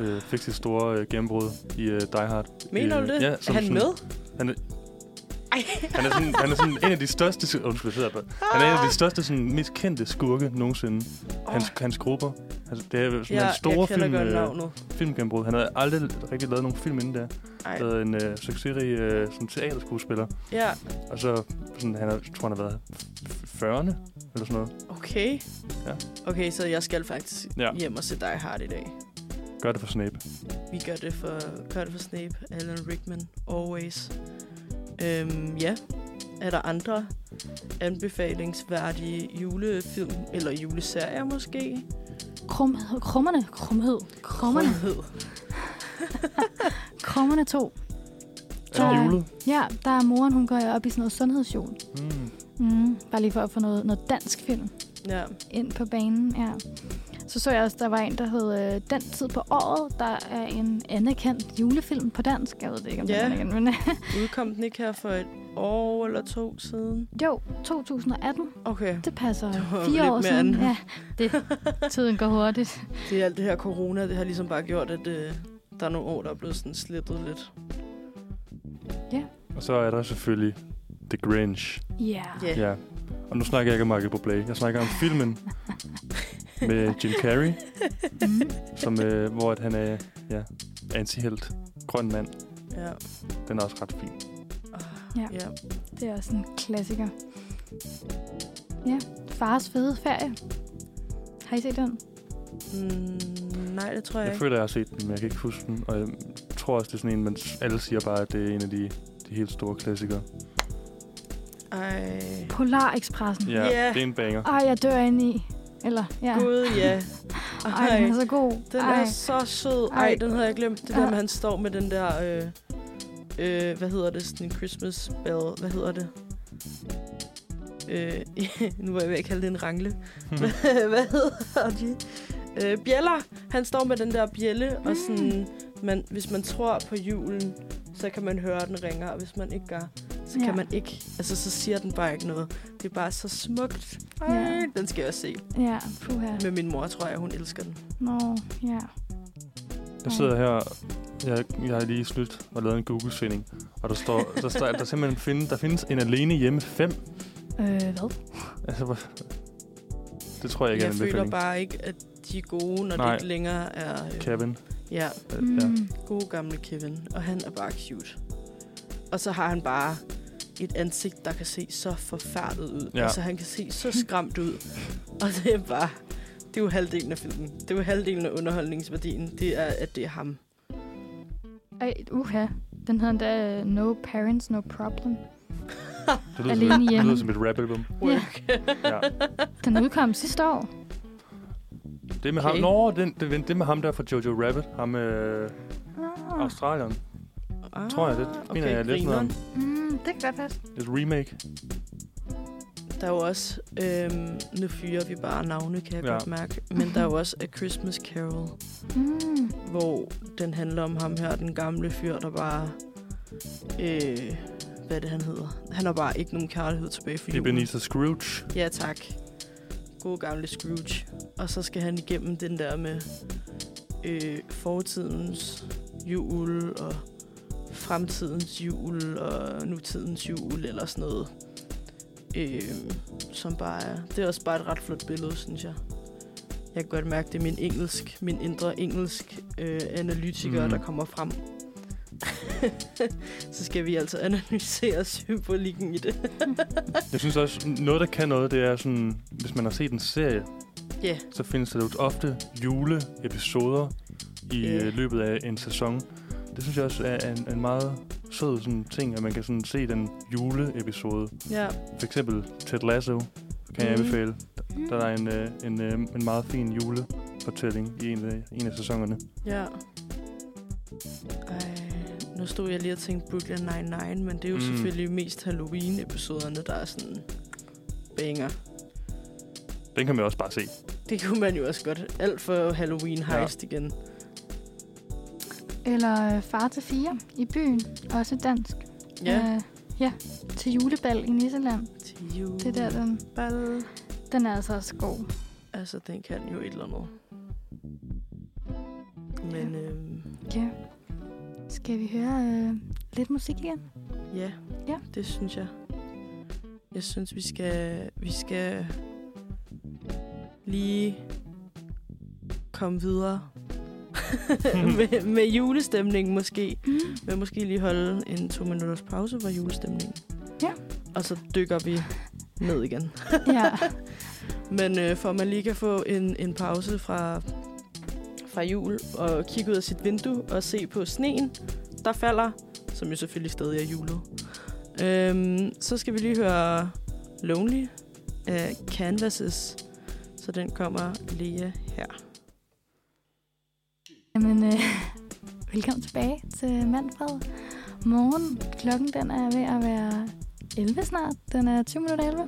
Speaker 3: øh, fik sit store øh, gennembrud i øh, Die Hard.
Speaker 2: Mener
Speaker 3: Øh,
Speaker 2: du det?
Speaker 3: ja,
Speaker 2: er
Speaker 3: som
Speaker 2: han
Speaker 3: sådan-
Speaker 2: med?
Speaker 3: han er-
Speaker 2: Ej.
Speaker 3: Han er sådan, han er sådan en af de største... Undskyld, jeg sidder bare. Han er en
Speaker 2: Ah.
Speaker 3: af de største, sådan, mest kendte skurke nogensinde. Hans, hans grupper. Altså, det er sådan
Speaker 2: ja,
Speaker 3: hans store
Speaker 2: jeg kender
Speaker 3: film,
Speaker 2: godt
Speaker 3: øh,
Speaker 2: navnet.
Speaker 3: filmgennembrud. Han havde aldrig rigtig lavet nogen film inden da.
Speaker 2: Ej.
Speaker 3: Han havde en øh, succesrig øh, sådan, teaterskuespiller.
Speaker 2: Ja,
Speaker 3: Og så sådan, han har, jeg tror han har været f- 40'erne eller sådan noget.
Speaker 2: okay.
Speaker 3: Ja.
Speaker 2: Okay, så jeg skal faktisk
Speaker 3: Ja.
Speaker 2: hjem og se dig hard i dag.
Speaker 3: Gør det for Snape.
Speaker 2: Vi gør det for, gør det for Snape, Alan Rickman, always. Øhm, ja, er der andre anbefalingsværdige julefilm, eller juleserier måske?
Speaker 1: Krumhed, krummerne, krumhed, krummerne,
Speaker 2: Krumhed.
Speaker 1: krummerne to.
Speaker 3: Er det
Speaker 1: Ja.
Speaker 3: julet?
Speaker 1: Ja, der er moren, hun går op i sådan noget sundhedsjul.
Speaker 3: Mm.
Speaker 1: Mm, bare lige for at få noget, noget dansk film
Speaker 2: Ja,
Speaker 1: ind på banen, ja. Så så jeg også, der var en, der hed øh, Den tid på året. Der er en anerkendt julefilm på dansk. Jeg ved det ikke, om
Speaker 2: Ja.
Speaker 1: yeah. den er anerkendt, men øh,
Speaker 2: udkom den ikke her for et år eller to siden?
Speaker 1: jo, 2018.
Speaker 2: Okay,
Speaker 1: Det passer
Speaker 2: Det var jo lidt
Speaker 1: fire år
Speaker 2: mere
Speaker 1: siden.
Speaker 2: end-
Speaker 1: Ja, det, tiden går hurtigt.
Speaker 2: det er alt det her corona, det har ligesom bare gjort, at øh, der er nogle år, der er blevet sådan slettet lidt.
Speaker 3: Og så er der selvfølgelig The Grinch.
Speaker 1: Ja.
Speaker 2: Ja.
Speaker 3: Ja. ja. Og nu snakker jeg ikke om Michael Bublé. Jeg snakker om filmen med Jim Carrey.
Speaker 1: Mm.
Speaker 3: som, øh, hvor at han er ja, antihelt, grøn mand.
Speaker 2: Ja.
Speaker 3: Den er også ret fin.
Speaker 1: Ja.
Speaker 2: ja.
Speaker 1: Det er også en klassiker. Ja, Fars fede ferie. Har I set den?
Speaker 2: Mm, nej, det tror jeg,
Speaker 3: Jeg
Speaker 2: ikke.
Speaker 3: føler, jeg har set den, men jeg kan ikke huske den. Og jeg tror også, det er sådan en, man s- alle siger bare, at det er en af de, de helt store klassikere.
Speaker 2: Ej.
Speaker 1: Polar Expressen.
Speaker 3: Ja,
Speaker 2: Ja.
Speaker 3: det er en banger.
Speaker 1: Ej, jeg dør ind i. Eller, ja.
Speaker 2: Gud, ja.
Speaker 1: Ej, den er så god.
Speaker 2: Den Ej.
Speaker 1: Ej.
Speaker 2: er så sød. Ej,
Speaker 1: Ej.
Speaker 2: den havde jeg glemt. Det der
Speaker 1: Ja.
Speaker 2: med, at han står med den der... Øh, øh, hvad hedder det? Sådan en Christmas bell. Hvad hedder det? Øh, nu var jeg ved at kalde det en rangle. hvad hedder de? Øh, bjæller. Han står med den der bjælle, mm. og
Speaker 1: Hmm.
Speaker 2: sådan... Man, hvis man tror på julen, så kan man høre, at den ringer, og hvis man ikke gør, så
Speaker 1: Ja.
Speaker 2: kan man ikke. Altså, så siger den bare ikke noget. Det er bare så smukt. Ej,
Speaker 1: Ja.
Speaker 2: Den skal jeg også se.
Speaker 1: Ja, puha.
Speaker 2: Med min mor, tror jeg, hun elsker den.
Speaker 1: Nå, ja.
Speaker 3: Jeg sidder her, jeg, jeg har lige snydt og lavet en Google-søgning. Og der står, der, står, der simpelthen find, der findes en alene hjemme 5.
Speaker 1: Øh, hvad?
Speaker 3: Altså, hvor- det tror jeg ikke
Speaker 2: jeg
Speaker 3: er en
Speaker 2: føler
Speaker 3: anbefaling.
Speaker 2: bare ikke, at de er gode, når Nej.
Speaker 3: Nej.
Speaker 2: det ikke længere er... Øh,
Speaker 3: Kevin.
Speaker 2: ja,
Speaker 1: Øh,
Speaker 3: Mm. Ja.
Speaker 1: Hmm.
Speaker 2: gode gamle Kevin. Og han er bare cute. Og så har han bare et ansigt, der kan se så forfærdet ud. Ja.
Speaker 3: Ja.
Speaker 2: Altså, han kan se så skræmt ud. Og det er bare... Det er jo halvdelen af filmen. Det er jo halvdelen af underholdningsværdien. Det er, at det er ham.
Speaker 1: Ej, uha. Den hedder endda øh, No Parents, No Problem.
Speaker 3: Det lyder,
Speaker 1: Alene
Speaker 3: som, et- det
Speaker 1: hjemme.
Speaker 3: lyder som et rap-album.
Speaker 1: Ja.
Speaker 3: Ja.
Speaker 1: Den udkom sidste år.
Speaker 3: Det er med
Speaker 2: Okay.
Speaker 3: ham. Nå, den, det, det med ham der fra Jojo Rabbit. Ham øh,
Speaker 1: Ah.
Speaker 3: Australieren.
Speaker 2: Ah,
Speaker 3: Tror jeg, det mener jeg, jeg læste noget om.
Speaker 2: grineren.
Speaker 1: Mm, det kan godt passe.
Speaker 3: Et remake.
Speaker 2: Der er jo også... Øhm, nu fyrer vi bare navne, kan jeg ja.
Speaker 3: Ja.
Speaker 2: godt mærke. Men der er jo også A Christmas Carol.
Speaker 1: Mm.
Speaker 2: hvor den handler om ham her, den gamle fyr, der bare... Øh, hvad er det, han hedder? Han har bare ikke nogen kærlighed tilbage for julen.
Speaker 3: Ebenezer Scrooge.
Speaker 2: Ja, tak. God gamle Scrooge. Og så skal han igennem den der med øh, fortidens jul og fremtidens jul og nutidens jul eller sådan noget. Øh, som bare er... Det er også bare et ret flot billede, synes jeg. Jeg kan godt mærke, det er min engelsk, min indre engelsk øh, analytiker, mm. der
Speaker 3: Mm.
Speaker 2: kommer frem. så skal vi altså analysere symbolikken i det.
Speaker 3: Jeg synes også, noget der kan noget, det er sådan, hvis man har set en serie,
Speaker 2: Ja. Yeah.
Speaker 3: så findes der jo ofte juleepisoder i
Speaker 2: Ja.
Speaker 3: yeah. løbet af en sæson. Det synes jeg også er en, en meget sød sådan, ting, at man kan sådan se den juleepisode.
Speaker 2: Ja.
Speaker 3: For eksempel Ted Lasso kan jeg
Speaker 2: Mhm.
Speaker 3: anbefale. Der er en, øh, en, øh, en meget fin julefortælling i en, af- en af sæsonerne.
Speaker 2: Ja. Ej, nu stod jeg lige og tænkte Brooklyn Nine-Nine, men det er jo mm.
Speaker 3: Mm.
Speaker 2: selvfølgelig mest Halloween-episoderne, der er sådan banger.
Speaker 3: Den kan man også bare se.
Speaker 2: Det kunne man jo også godt. Alt for Halloween-heist ja. igen.
Speaker 1: Eller øh, Far til fire i byen. Også dansk.
Speaker 2: Ja.
Speaker 1: Øh, ja, til julebal i Nisseland.
Speaker 2: Til jul.
Speaker 1: Det er der, den,
Speaker 2: Bal.
Speaker 1: Den er altså også god.
Speaker 2: Altså, den kan jo et eller andet. Men øhm,
Speaker 1: Ja. Skal vi høre øh, lidt musik igen?
Speaker 2: ja,
Speaker 1: Ja.
Speaker 2: det synes jeg. Jeg synes, vi skal, vi skal lige komme videre med, med julestemningen måske.
Speaker 1: Mm.
Speaker 2: Men måske lige holde en to minutters pause for julestemningen.
Speaker 1: Ja.
Speaker 2: Og så dykker vi ned igen.
Speaker 1: ja.
Speaker 2: Men øh, for at man lige kan få en, en pause fra, fra jul og kigge ud af sit vindue og se på sneen, der falder, som jo selvfølgelig stadig er julet. Øhm, så skal vi lige høre Lonely af Canvases. Så den kommer lige her.
Speaker 1: Jamen, øh, velkommen tilbage til Manfred. Morgen, klokken den er ved at være 11 snart. Den er 20 minutter 11.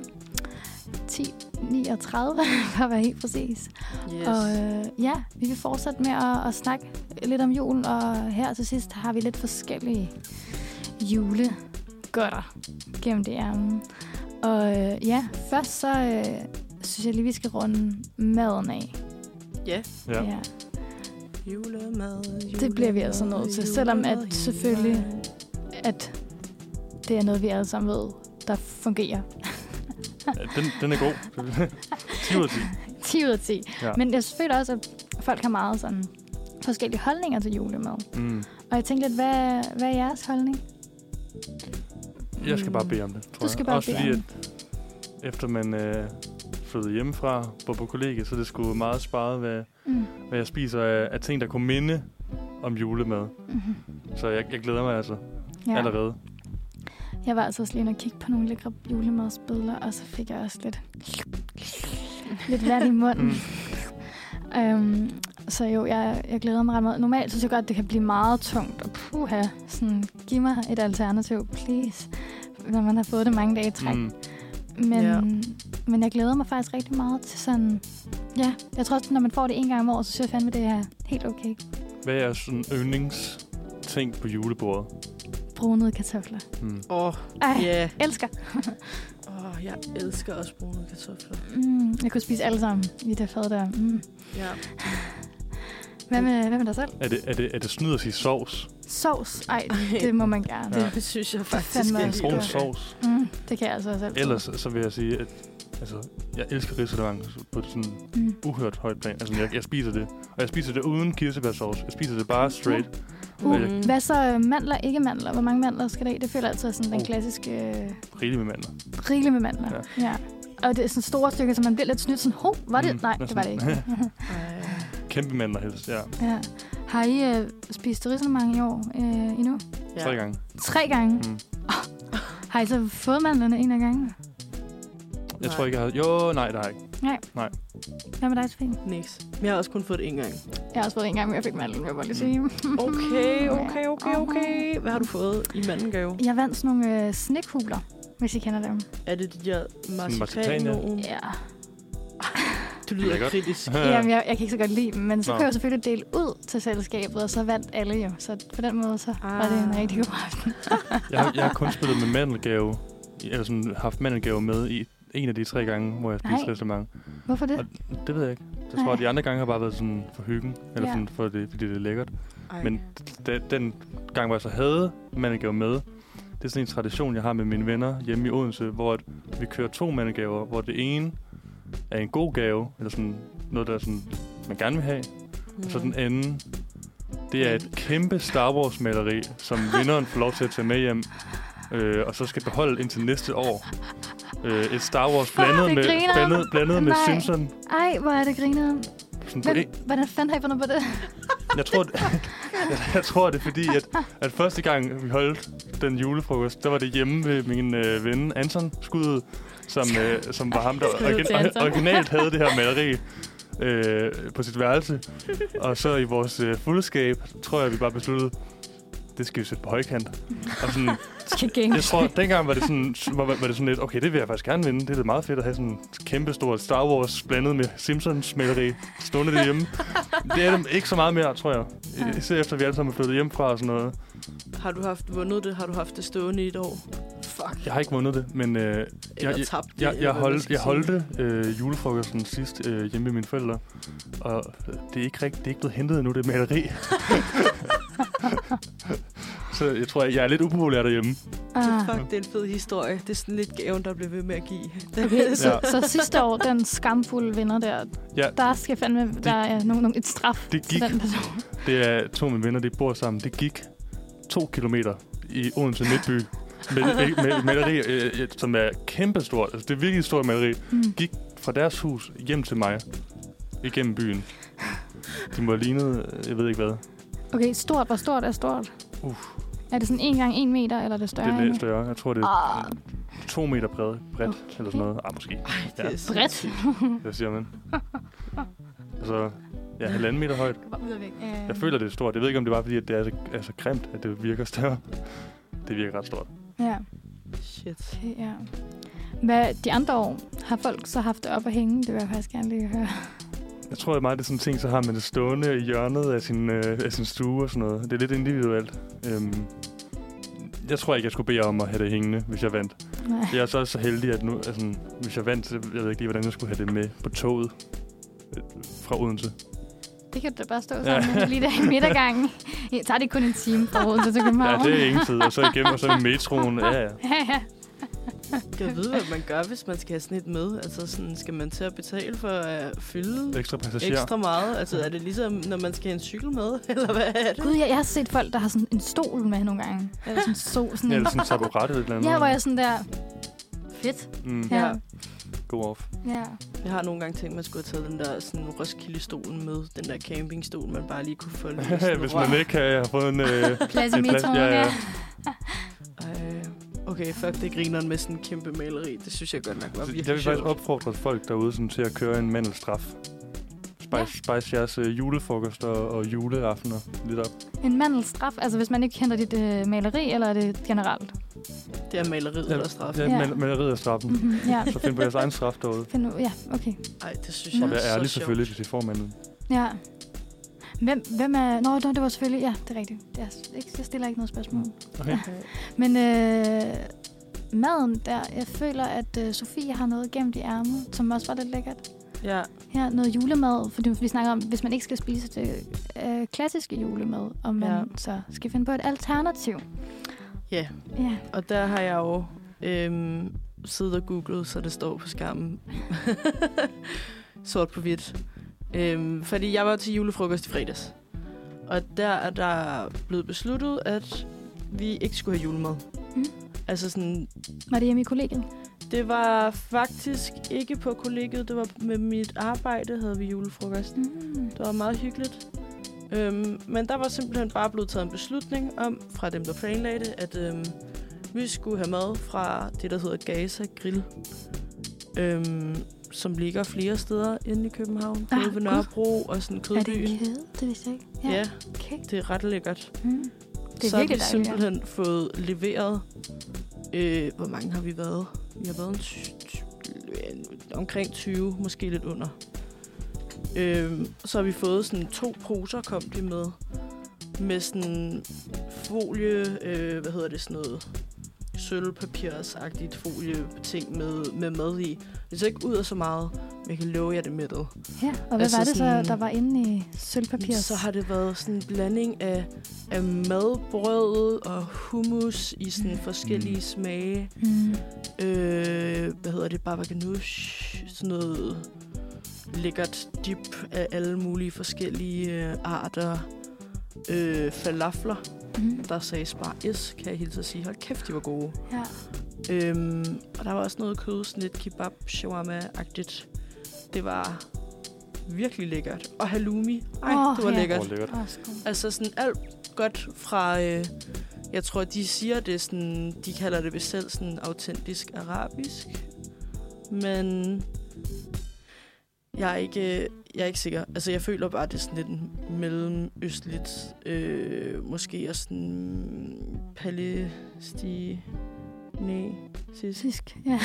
Speaker 1: 10.39 for at være helt præcis.
Speaker 2: Yes.
Speaker 1: Og øh, ja, vi vil fortsætte med at, at snakke lidt om julen, og her til sidst har vi lidt forskellige julegodter gennem det ærmen. Og øh, ja, først så øh, synes jeg lige, vi skal runde maden af.
Speaker 2: Ja.
Speaker 3: Ja.
Speaker 1: ja.
Speaker 2: Julemad, julemad,
Speaker 1: Det bliver vi altså nødt til, selvom at
Speaker 2: julemad,
Speaker 1: selvfølgelig-
Speaker 2: julemad.
Speaker 1: at det er noget, vi alle sammen ved, der fungerer.
Speaker 3: Ja, den, den er god. 10 ud af 10.
Speaker 1: 10 ud af 10.
Speaker 3: Ja.
Speaker 1: Men jeg føler også, at folk har meget sådan forskellige holdninger til julemad.
Speaker 3: Mm.
Speaker 1: Og jeg tænkte lidt, hvad, hvad er jeres holdning?
Speaker 3: Jeg skal bare
Speaker 2: Mm.
Speaker 3: bede om det, tror
Speaker 1: Du skal
Speaker 3: jeg.
Speaker 1: bare
Speaker 3: Også
Speaker 1: bede
Speaker 3: fordi,
Speaker 1: om
Speaker 3: at efter man øh, flyttede hjemmefra på, på kollegiet, så er det sgu meget sparet, hvad,
Speaker 1: Mm.
Speaker 3: hvad jeg spiser af, af ting, der kunne minde om julemad.
Speaker 1: Mhm.
Speaker 3: Så jeg, jeg glæder mig altså ja.
Speaker 1: Ja.
Speaker 3: allerede.
Speaker 1: Jeg var altså også lige inde og kigge på nogle lækre julemadsbilleder, og så fik jeg også lidt, lidt vand i munden. Øhm, så jo, jeg, jeg glæder mig ret meget. Normalt synes jeg godt, det kan blive meget tungt. Og puha, sådan, giv mig et alternativ, please. Når man har fået det mange dage i træk.
Speaker 3: Mm.
Speaker 1: Men,
Speaker 2: Ja.
Speaker 1: yeah. men jeg glæder mig faktisk rigtig meget til sådan... Ja, jeg tror også, når man får det en gang om året, så synes jeg fandme, det er helt okay.
Speaker 3: Hvad er sådan yndlingsting på julebordet?
Speaker 1: Brunede kartofler.
Speaker 3: Mm.
Speaker 2: Åh, oh,
Speaker 1: Ej,
Speaker 2: ja.
Speaker 1: yeah.
Speaker 2: Yeah.
Speaker 1: elsker.
Speaker 2: Oh, jeg elsker også brune kartofler.
Speaker 1: Mm, jeg kunne spise alle sammen i det fad der. Mm.
Speaker 2: Ja.
Speaker 1: Hvad, med, hvad med dig selv?
Speaker 3: Er, det, er, det, er det snyd at sige sovs?
Speaker 1: Sovs? Ej, det må man gerne.
Speaker 3: Ja.
Speaker 2: Det synes jeg faktisk
Speaker 1: fandme
Speaker 2: er
Speaker 1: også
Speaker 2: helt
Speaker 3: Brun
Speaker 1: godt.
Speaker 2: okay.
Speaker 3: sovs?
Speaker 1: Mm, det kan jeg altså også altid.
Speaker 3: Ellers så vil jeg sige, at altså, jeg elsker risalemang på et sådan
Speaker 1: Mm.
Speaker 3: uhørt højt plan. Altså, jeg, jeg spiser det. Og jeg spiser det uden kirsebærsauce. Jeg spiser det bare straight.
Speaker 1: Uh,
Speaker 3: Mm.
Speaker 1: Hvad så øh, mandler, ikke mandler? Hvor mange mandler skal der i? Det føler jeg altid er sådan den
Speaker 2: Oh.
Speaker 3: Uh.
Speaker 1: klassiske øh,
Speaker 3: Rigeligt med mandler.
Speaker 1: rigelig med mandler. Ja. ja. Og det er sådan store stykker, så man bliver lidt snydt sådan, hov, var det?
Speaker 3: Mm,
Speaker 1: Mm, Nej,
Speaker 3: og
Speaker 1: det var det
Speaker 3: sådan-
Speaker 1: ikke.
Speaker 2: Ej.
Speaker 3: Kæmpe mandler helst, ja.
Speaker 1: ja. Har I øh, spist risalemang i år øh, endnu?
Speaker 2: Ja.
Speaker 3: Tre gange.
Speaker 1: Tre gange. Mm.
Speaker 3: Mm.
Speaker 1: Har I så fået mandlerne en af gangene?
Speaker 3: Jeg
Speaker 2: Nej.
Speaker 3: tror ikke, jeg har... Jo, nej, der har ikke.
Speaker 1: Hvad med dig, Sofie?
Speaker 2: Niks. Men jeg har også kun fået det en gang.
Speaker 1: Jeg har også fået en gang, men jeg fik mandlen, vil jeg bare lige sige.
Speaker 2: Mm. Okay,
Speaker 1: Ja.
Speaker 2: okay, okay, okay. Hvad har du fået i mandengave?
Speaker 1: Jeg vandt sådan nogle øh, snikhuler, hvis I kender dem.
Speaker 2: Er det de der
Speaker 3: marcipan, ja.
Speaker 2: marcipanoen?
Speaker 1: Ja.
Speaker 2: Du lyder
Speaker 3: Lækkert.
Speaker 2: kritisk.
Speaker 1: Jamen, jeg, jeg kan ikke så godt lide dem, men så
Speaker 3: Nå.
Speaker 1: kunne jeg jo selvfølgelig dele ud til selskabet, og så vandt alle jo. Så på den måde, så var det en
Speaker 2: Ah.
Speaker 1: rigtig god aften.
Speaker 3: Jeg har, jeg har kun spillet med mandelgave. Eller sådan haft mandelgave med i en af de tre gange, hvor jeg
Speaker 1: Nej.
Speaker 3: spiste risalemang.
Speaker 1: Hvorfor det?
Speaker 3: Det ved jeg ikke. Jeg tror,
Speaker 1: Nej.
Speaker 3: at de andre gange har bare været sådan for hyggen. Eller
Speaker 1: Ja.
Speaker 3: sådan for det, fordi det er lækkert.
Speaker 2: Ej.
Speaker 3: Men da, den gang, hvor jeg så havde mandelgave med, det er sådan en tradition, jeg har med mine venner hjemme i Odense, hvor at vi kører to mandelgaver, hvor det ene er en god gave, eller sådan noget, der er sådan, man gerne vil have,
Speaker 2: Mm.
Speaker 3: og
Speaker 1: Mm.
Speaker 3: så den anden, det er et kæmpe Star Wars-maleri, som vinderen får lov til at tage med hjem, øh, og så skal beholde indtil næste år. Øh, et Star Wars blandet
Speaker 1: det
Speaker 3: med,
Speaker 1: griner.
Speaker 3: blandet, blandet med
Speaker 1: Nej.
Speaker 3: Simpson.
Speaker 1: Ej, hvor er det grineren.
Speaker 3: Sådan på
Speaker 1: Hvem,
Speaker 3: en,
Speaker 1: hvordan fanden har I fundet på det?
Speaker 3: jeg tror, det, jeg, jeg tror, det er fordi, at, at første gang, vi holdt den julefrokost, der var det hjemme ved min øh, ven Anton Skud, som, øh, som var ham, der
Speaker 2: Skud til Anton.
Speaker 3: orgi- originalt havde det her maleri øh, på sit værelse. Og så i vores øh, fuldskab, tror jeg, vi bare besluttede, det skal vi sætte på højkant. Og sådan,
Speaker 1: Skal
Speaker 3: jeg tror, dengang var det, sådan, var, var det sådan lidt, okay, det vil jeg faktisk gerne vinde. Det er da meget fedt at have sådan et kæmpe stort Star Wars blandet med Simpsons maleri stående derhjemme. Det er dem ikke så meget mere, tror jeg.
Speaker 1: Nej.
Speaker 3: Især efter vi alle sammen er flyttet hjemmefra og sådan noget.
Speaker 2: Har du haft vundet det? Har du haft det stående i et år?
Speaker 1: Fuck,
Speaker 2: Fuck.
Speaker 3: Jeg har ikke vundet det, men øh,
Speaker 2: Eller
Speaker 3: jeg-
Speaker 2: tabt det,
Speaker 3: jeg,
Speaker 2: eller
Speaker 3: jeg,
Speaker 2: hvad man
Speaker 3: hold,
Speaker 2: skal
Speaker 3: jeg
Speaker 2: sige.
Speaker 3: holdte øh, julefrokosten sidst øh, hjemme med mine forældre, og øh, det er ikke rigtigt, det er ikke blevet hentet endnu, det maleri. så jeg tror, jeg, jeg er lidt upopulær derhjemme.
Speaker 2: Det,
Speaker 1: Ah.
Speaker 2: fuck, det er en fed historie. Det er sådan lidt gaven, der blev ved med at give.
Speaker 1: Okay, så,
Speaker 3: Ja.
Speaker 1: så sidste år, den skamfulde vinder der,
Speaker 3: Ja.
Speaker 1: der skal fandme, der er nogen, nogen, et straf
Speaker 3: Det
Speaker 1: til
Speaker 3: gik.
Speaker 1: den person.
Speaker 3: Det er to af mine venner, de bor sammen. Det gik to kilometer i Odense Midtby med, med, med et maleri, øh, øh, som er kæmpestort. Altså, det er virkelig et stort maleri.
Speaker 1: Mm.
Speaker 3: Gik fra deres hus hjem til mig igennem byen. De må have lignet, øh, jeg ved ikke hvad.
Speaker 1: Okay, stort. Hvor stort er stort?
Speaker 3: Uff.
Speaker 1: Er det sådan en gang en meter, eller er det større?
Speaker 3: Det er
Speaker 1: end-
Speaker 3: lidt større. Jeg tror, det er
Speaker 1: Ah,
Speaker 3: to meter bredt, bredt okay. eller
Speaker 1: Okay.
Speaker 3: sådan noget. Ah, måske.
Speaker 2: Det er så
Speaker 1: bredt.
Speaker 2: sygt.
Speaker 3: Hvad siger man? Altså, ja, halvanden meter højt. Jeg føler, det er stort. Jeg ved ikke, om det var, fordi at det er så, er så grimt, at det virker større. Det virker ret stort.
Speaker 1: Ja,
Speaker 2: Shit.
Speaker 1: okay, ja. Hvad de andre år har folk så haft det op at hænge? Det vil jeg faktisk gerne lige høre.
Speaker 3: Jeg tror at meget, det er sådan en ting, så har man det stående i hjørnet af sin, øh, af sin stue og sådan noget. Det er lidt individuelt. Øhm, jeg tror ikke, jeg skulle bede jer om at have det hængende, hvis jeg vandt.
Speaker 1: Nej.
Speaker 3: Jeg er så så heldig, at nu, altså, hvis jeg vandt, så jeg ved ikke lige, hvordan jeg skulle have det med på toget øh, fra Odense.
Speaker 1: Det kan du da bare stå
Speaker 3: Ja.
Speaker 1: sammen med lige der i midtergangen. Ja, tager det kun en time fra Odense til
Speaker 3: Ja,
Speaker 1: København.
Speaker 3: det er ingen tid. Og så igennem, og så i metroen. Ja, ja.
Speaker 1: Ja, ja.
Speaker 2: Jeg ved, hvad man gør, hvis man skal have sådan et med. Altså, sådan, skal man til at betale for at fylde
Speaker 3: Ekstra passager.
Speaker 2: ekstra meget? Altså, er det ligesom, når man skal have en cykel med? Eller hvad er det?
Speaker 1: Gud, jeg, jeg har set folk, der har sådan en stol med nogle gange. Eller sådan en sol. Sådan
Speaker 3: Ja,
Speaker 1: en...
Speaker 3: eller sådan en taburet eller et eller andet.
Speaker 1: Ja, hvor jeg sådan der... Fedt.
Speaker 3: Mm,
Speaker 1: Ja.
Speaker 3: go off.
Speaker 1: ja.
Speaker 2: Jeg har nogle gange tænkt, at man skulle have taget den der sådan, Roskilde-stolen med. Den der campingstol, man bare lige kunne folde. i sådan
Speaker 3: Hvis
Speaker 2: rør.
Speaker 3: man ikke øh, har fået en... Øh,
Speaker 1: Plads i
Speaker 3: En plads,
Speaker 1: metroen,
Speaker 3: ja, ja.
Speaker 1: ja.
Speaker 2: Ej, Okay, fuck, det griner med sådan en kæmpe maleri. Det synes jeg godt nok var
Speaker 3: jeg
Speaker 2: virkelig
Speaker 3: vil faktisk
Speaker 2: sjovt.
Speaker 3: opfordre folk derude sådan, til at køre en mandelstraf. Spice,
Speaker 1: Ja.
Speaker 3: spice jeres øh, julefrokoster og juleaftener lidt op.
Speaker 1: En mandelstraf, altså hvis man ikke henter dit øh, maleri, eller er det generelt?
Speaker 2: Det er maleriet, der er straffen.
Speaker 3: Ja,
Speaker 1: Ja.
Speaker 3: mal- maleriet og straffen.
Speaker 1: Mhm, ja.
Speaker 3: Så find på jeres egen straf derude.
Speaker 1: Find ud. Ja, okay.
Speaker 2: Ej, det synes
Speaker 1: Og
Speaker 2: jeg
Speaker 3: Og
Speaker 1: Mm.
Speaker 3: vær
Speaker 2: er
Speaker 3: ærlig
Speaker 2: så sjovt.
Speaker 3: selvfølgelig, hvis I får manden.
Speaker 1: Ja. Hvem, hvem er... Nå, nå, det var selvfølgelig... Ja, det er rigtigt. Det er, ikke, jeg stiller ikke noget spørgsmål.
Speaker 2: Mm.
Speaker 3: Okay.
Speaker 1: Men øh, maden der, jeg føler, at øh, Sofie har noget gemt i ærmet, som også var lidt lækkert.
Speaker 2: Ja,
Speaker 1: Her, noget julemad, fordi vi snakker om, hvis man ikke skal spise det øh, klassiske julemad, og man
Speaker 2: Ja.
Speaker 1: ja. så skal finde på et alternativ.
Speaker 2: Ja.
Speaker 1: Ja.
Speaker 2: og der har jeg jo øhm, siddet og googlet, så det står på skærmen. Sort på hvidt. Øhm, fordi jeg var til julefrokost i fredags. Og der er der blevet besluttet, at vi ikke skulle have julemad.
Speaker 1: Mm.
Speaker 2: Altså sådan,
Speaker 1: Var det hjemme i kollegiet?
Speaker 2: Det var faktisk ikke på kollegiet, det var med mit arbejde, havde vi julefrokost.
Speaker 1: Mm.
Speaker 2: Det var meget hyggeligt. Øhm, men der var simpelthen bare blevet taget en beslutning om, fra dem, der planlagde det, at øhm, vi skulle have mad fra det, der hedder Gaza Grill, øhm, som ligger flere steder inde i København.
Speaker 1: Ah,
Speaker 2: Både ved
Speaker 1: gud.
Speaker 2: Nørrebro og sådan
Speaker 1: Er det en
Speaker 2: Kødbyen.
Speaker 1: kæde? Det vidste jeg ikke.
Speaker 2: Ja. ja,
Speaker 1: Okay.
Speaker 2: det er ret lækkert.
Speaker 1: Mm. Det er
Speaker 2: så
Speaker 1: virkelig
Speaker 2: har vi
Speaker 1: dejligt, ja.
Speaker 2: simpelthen fået leveret... Øh, hvor mange har vi været? Vi har været en ty- ty- en, omkring 20, måske lidt under. Øh, så har vi fået sådan to poser, kom de med. Med sådan folie, øh, hvad hedder det sådan noget, sølvpapirsagtigt folie ting med, med mad i. Det ser ikke ud af så meget, men jeg kan love jer det med det.
Speaker 1: Ja, og hvad altså
Speaker 2: Altså
Speaker 1: var det
Speaker 2: sådan-
Speaker 1: så, der var inde i sølvpapir?
Speaker 2: Så har det været sådan en blanding af, af madbrød og hummus i sådan forskellige
Speaker 3: Mm.
Speaker 2: smage.
Speaker 1: Mm.
Speaker 2: Øh, hvad hedder det? Baba ganoush. Sådan noget lækkert dip af alle mulige forskellige øh, arter. Øh, falafler,
Speaker 1: Mm.
Speaker 2: der sagde spar is, kan jeg hilse at sige. Hold kæft, de var gode.
Speaker 1: Ja.
Speaker 2: Øhm, og der var også noget kød, sådan lidt kebab, shawarma-agtigt. Det var virkelig lækkert. Og halloumi. Ej,
Speaker 1: Åh,
Speaker 2: det var
Speaker 1: ja.
Speaker 2: lækkert.
Speaker 3: Åh, lækkert.
Speaker 1: Åh, skål.
Speaker 2: Altså sådan alt godt fra, øh, jeg tror, de siger det sådan, de kalder det vist selv sådan autentisk arabisk. Men jeg er ikke, øh, jeg er ikke sikker. Altså jeg føler bare, det er sådan lidt en mellemøstligt, øh, måske også sådan palæstinensisk.
Speaker 1: Tysk, ja.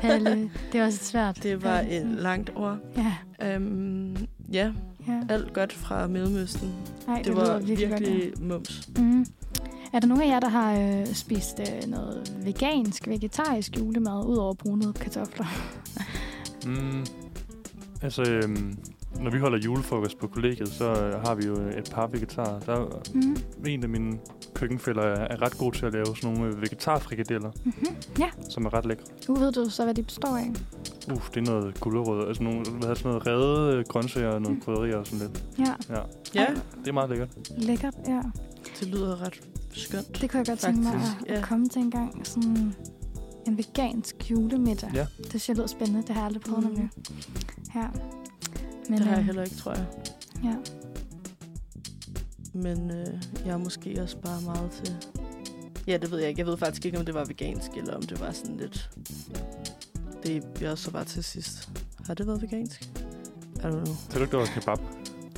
Speaker 1: Palle, det er også et svært.
Speaker 2: Det var
Speaker 1: Ja.
Speaker 2: et langt ord.
Speaker 1: Ja,
Speaker 2: Um, ja,
Speaker 1: ja.
Speaker 2: alt godt fra Mellemøsten.
Speaker 1: Ej,
Speaker 2: Det var virkelig mums.
Speaker 1: Mm. Er der nogen af jer, der har øh, spist øh, noget vegansk, vegetarisk julemad, udover brunede kartofler?
Speaker 3: Mm, altså, øhm, når vi holder julefrokost på kollegiet, så øh, har vi jo et par vegetarer. Der er
Speaker 2: Mm-hmm.
Speaker 1: Mm.
Speaker 3: en af mine køkkenfælder er, er ret god til at lave sådan nogle øh, vegetarfrikadeller,
Speaker 1: Mm-hmm. Ja,
Speaker 3: som er ret lækre.
Speaker 1: nu ved du så, hvad de består af.
Speaker 3: Uff, det er noget gulerødder, altså nogle, hvad hedder sådan noget redde øh, grøntsager og nogle
Speaker 1: Mm.
Speaker 3: krydderier og sådan lidt.
Speaker 1: Ja,
Speaker 2: Ja,
Speaker 3: Det er meget lækkert.
Speaker 1: lækkert. Ja.
Speaker 2: det lyder ret skønt.
Speaker 1: Det kunne jeg godt tænke mig
Speaker 2: Faktisk,
Speaker 1: at, at
Speaker 2: ja.
Speaker 1: komme til en gang. Sådan en vegansk julemiddag.
Speaker 3: Ja.
Speaker 1: Det synes jeg lyder spændende. Det har jeg aldrig prøvet
Speaker 2: Mhm.
Speaker 1: nemlig. Ja. Men,
Speaker 2: Det har jeg
Speaker 1: øh,
Speaker 2: heller ikke, tror jeg.
Speaker 1: Ja.
Speaker 2: Men øh, jeg er måske også bare meget til... Ja, det ved jeg ikke. Jeg ved faktisk ikke, om det var vegansk, eller om det var sådan lidt... Det jeg også var til sidst. Har det været vegansk? I don't know.
Speaker 3: Så du ikke, det var kebab?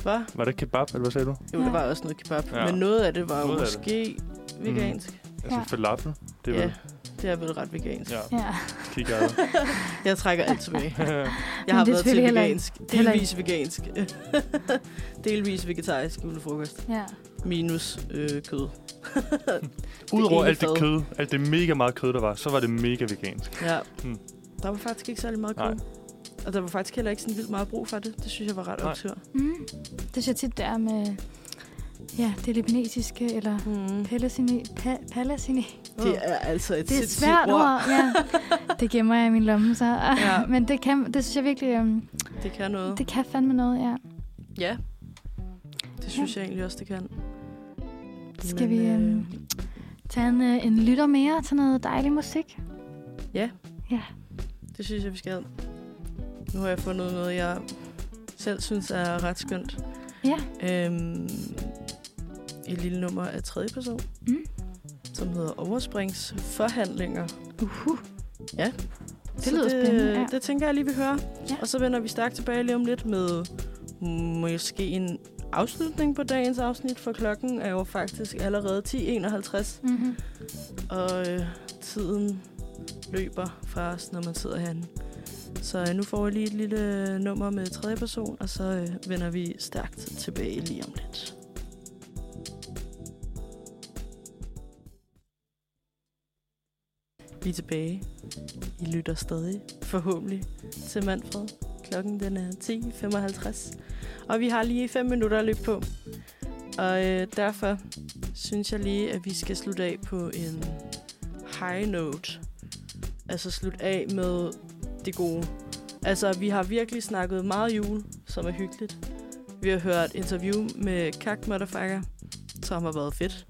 Speaker 2: Hvad?
Speaker 3: Var det kebab, eller hvad sagde du?
Speaker 2: Jo, ja.
Speaker 1: Ja.
Speaker 2: der var også noget kebab.
Speaker 3: Ja.
Speaker 2: Ja. Men noget af det var jo
Speaker 3: Noget af det.
Speaker 2: måske vegansk. Mm.
Speaker 3: Altså
Speaker 1: Ja.
Speaker 3: ja. falafel? Det er
Speaker 2: ja,
Speaker 3: vel,
Speaker 2: det er vel ret vegansk. Ja.
Speaker 3: ja,
Speaker 1: ja.
Speaker 3: kigger
Speaker 2: Jeg trækker alt tilbage.
Speaker 1: Men
Speaker 2: Jeg har
Speaker 1: det er
Speaker 2: været til
Speaker 1: selvfølgelig heller
Speaker 2: vegansk.
Speaker 1: heller
Speaker 2: Delvis vegansk. Delvis vegetarisk julefrokost.
Speaker 1: ja.
Speaker 2: Minus øh, kød.
Speaker 3: Udover
Speaker 2: ene
Speaker 3: alt det
Speaker 2: fad.
Speaker 3: kød, alt det mega meget kød, der var, så var det mega vegansk.
Speaker 2: Ja.
Speaker 3: Hmm.
Speaker 2: Hmm. Der var faktisk ikke særlig meget kød.
Speaker 3: Nej.
Speaker 2: Og der var faktisk heller ikke sådan vildt meget brug for det. Det synes jeg var ret
Speaker 3: Nej.
Speaker 2: optur.
Speaker 1: Mm. Det synes jeg tit, det er med ja, det libanesiske eller
Speaker 2: Mm.
Speaker 1: palæstini. Pa- palæstini.
Speaker 2: Det er altså et
Speaker 1: Hmm. Det er et
Speaker 2: sindssygt
Speaker 1: svært
Speaker 2: ord.
Speaker 1: ord. Ja. Det gemmer jeg i min lomme så.
Speaker 2: Ja.
Speaker 1: Men det, kan, det synes jeg virkelig, øhm,
Speaker 2: Det kan noget.
Speaker 1: det kan fandme noget, ja.
Speaker 2: Ja. Det synes jeg egentlig også, det kan.
Speaker 1: Skal
Speaker 2: Men, øh,
Speaker 1: vi, øhm, Tag en, øh, en lytter mere til noget dejlig musik.
Speaker 2: Det synes jeg, vi skal. Nu har jeg fundet noget, jeg selv synes er ret skønt.
Speaker 1: Ja.
Speaker 2: Øhm, et lille nummer af tredje person,
Speaker 1: Mm.
Speaker 2: som hedder Overspringsforhandlinger.
Speaker 1: Uhuh.
Speaker 2: Ja.
Speaker 1: Det
Speaker 2: Så
Speaker 1: lyder spændende, ja.
Speaker 2: Det tænker jeg lige, vi hører.
Speaker 1: Ja.
Speaker 2: Og så vender vi stærkt tilbage lige om lidt med måske en afslutning på dagens afsnit, for klokken er jo faktisk allerede 10.51.
Speaker 1: Mm-hmm.
Speaker 2: Og øh, tiden løber fra os, når man sidder herinde. Så øh, nu får jeg lige et lille nummer med tredje person, og så øh, vender vi stærkt tilbage lige om lidt. Vi er tilbage. I lytter stadig, forhåbentlig, til Manfred. Klokken den er 10.55, og vi har lige 5 minutter at løbe på. Og øh, derfor synes jeg lige, at vi skal slutte af på en high note. Altså slutte af med det gode. Altså, vi har virkelig snakket meget jul, som er hyggeligt. Vi har hørt interview med Kak Motherfucker, som har været fedt.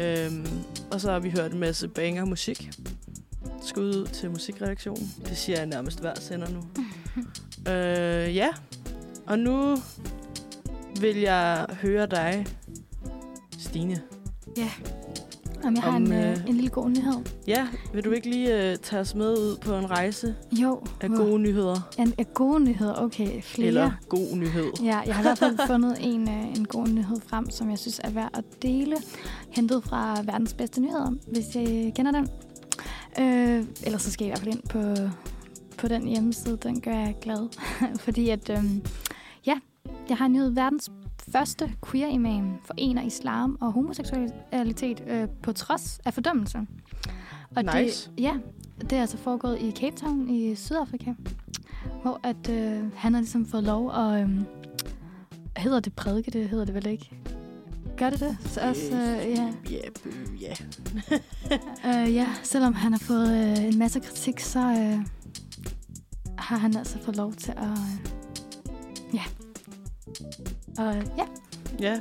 Speaker 2: Øhm, og så har vi hørt en masse banger musik. Skud ud til musikredaktionen. Det siger jeg nærmest hver sender nu. øh, ja, og nu vil jeg høre dig, Stine.
Speaker 1: Om jeg har
Speaker 2: Om,
Speaker 1: en, øh,
Speaker 2: øh,
Speaker 1: en lille god nyhed.
Speaker 2: Ja, vil du ikke lige øh, tage os med ud på en rejse
Speaker 1: Jo.
Speaker 2: af
Speaker 1: hvor-
Speaker 2: gode nyheder?
Speaker 1: En, en god nyhed, okay. Flere.
Speaker 2: Eller god nyhed?
Speaker 1: Ja, jeg har i hvert fald fundet en, øh, en god nyhed frem, som jeg synes er værd at dele. Hentet fra verdens bedste nyheder, hvis jeg kender den. Øh, ellers så skal I i hvert fald ind på, på den hjemmeside. Den gør jeg glad. Fordi at, øh, ja, jeg har nyhed verdens første queer-imam forener islam og homoseksualitet øh, på trods af fordømmelse. Og
Speaker 2: Nice.
Speaker 1: Det, ja, det er altså foregået i Cape Town i Sydafrika, hvor at, øh, han har ligesom fået lov at... Øh, hedder det prædike? Det hedder det vel ikke? Gør det det? Så også, øh, ja.
Speaker 2: Ja, øh, ja.
Speaker 1: Øh, ja, selvom han har fået øh, en masse kritik, så øh, har han altså fået lov til at... Øh, ja. Og øh, ja.
Speaker 2: Ja,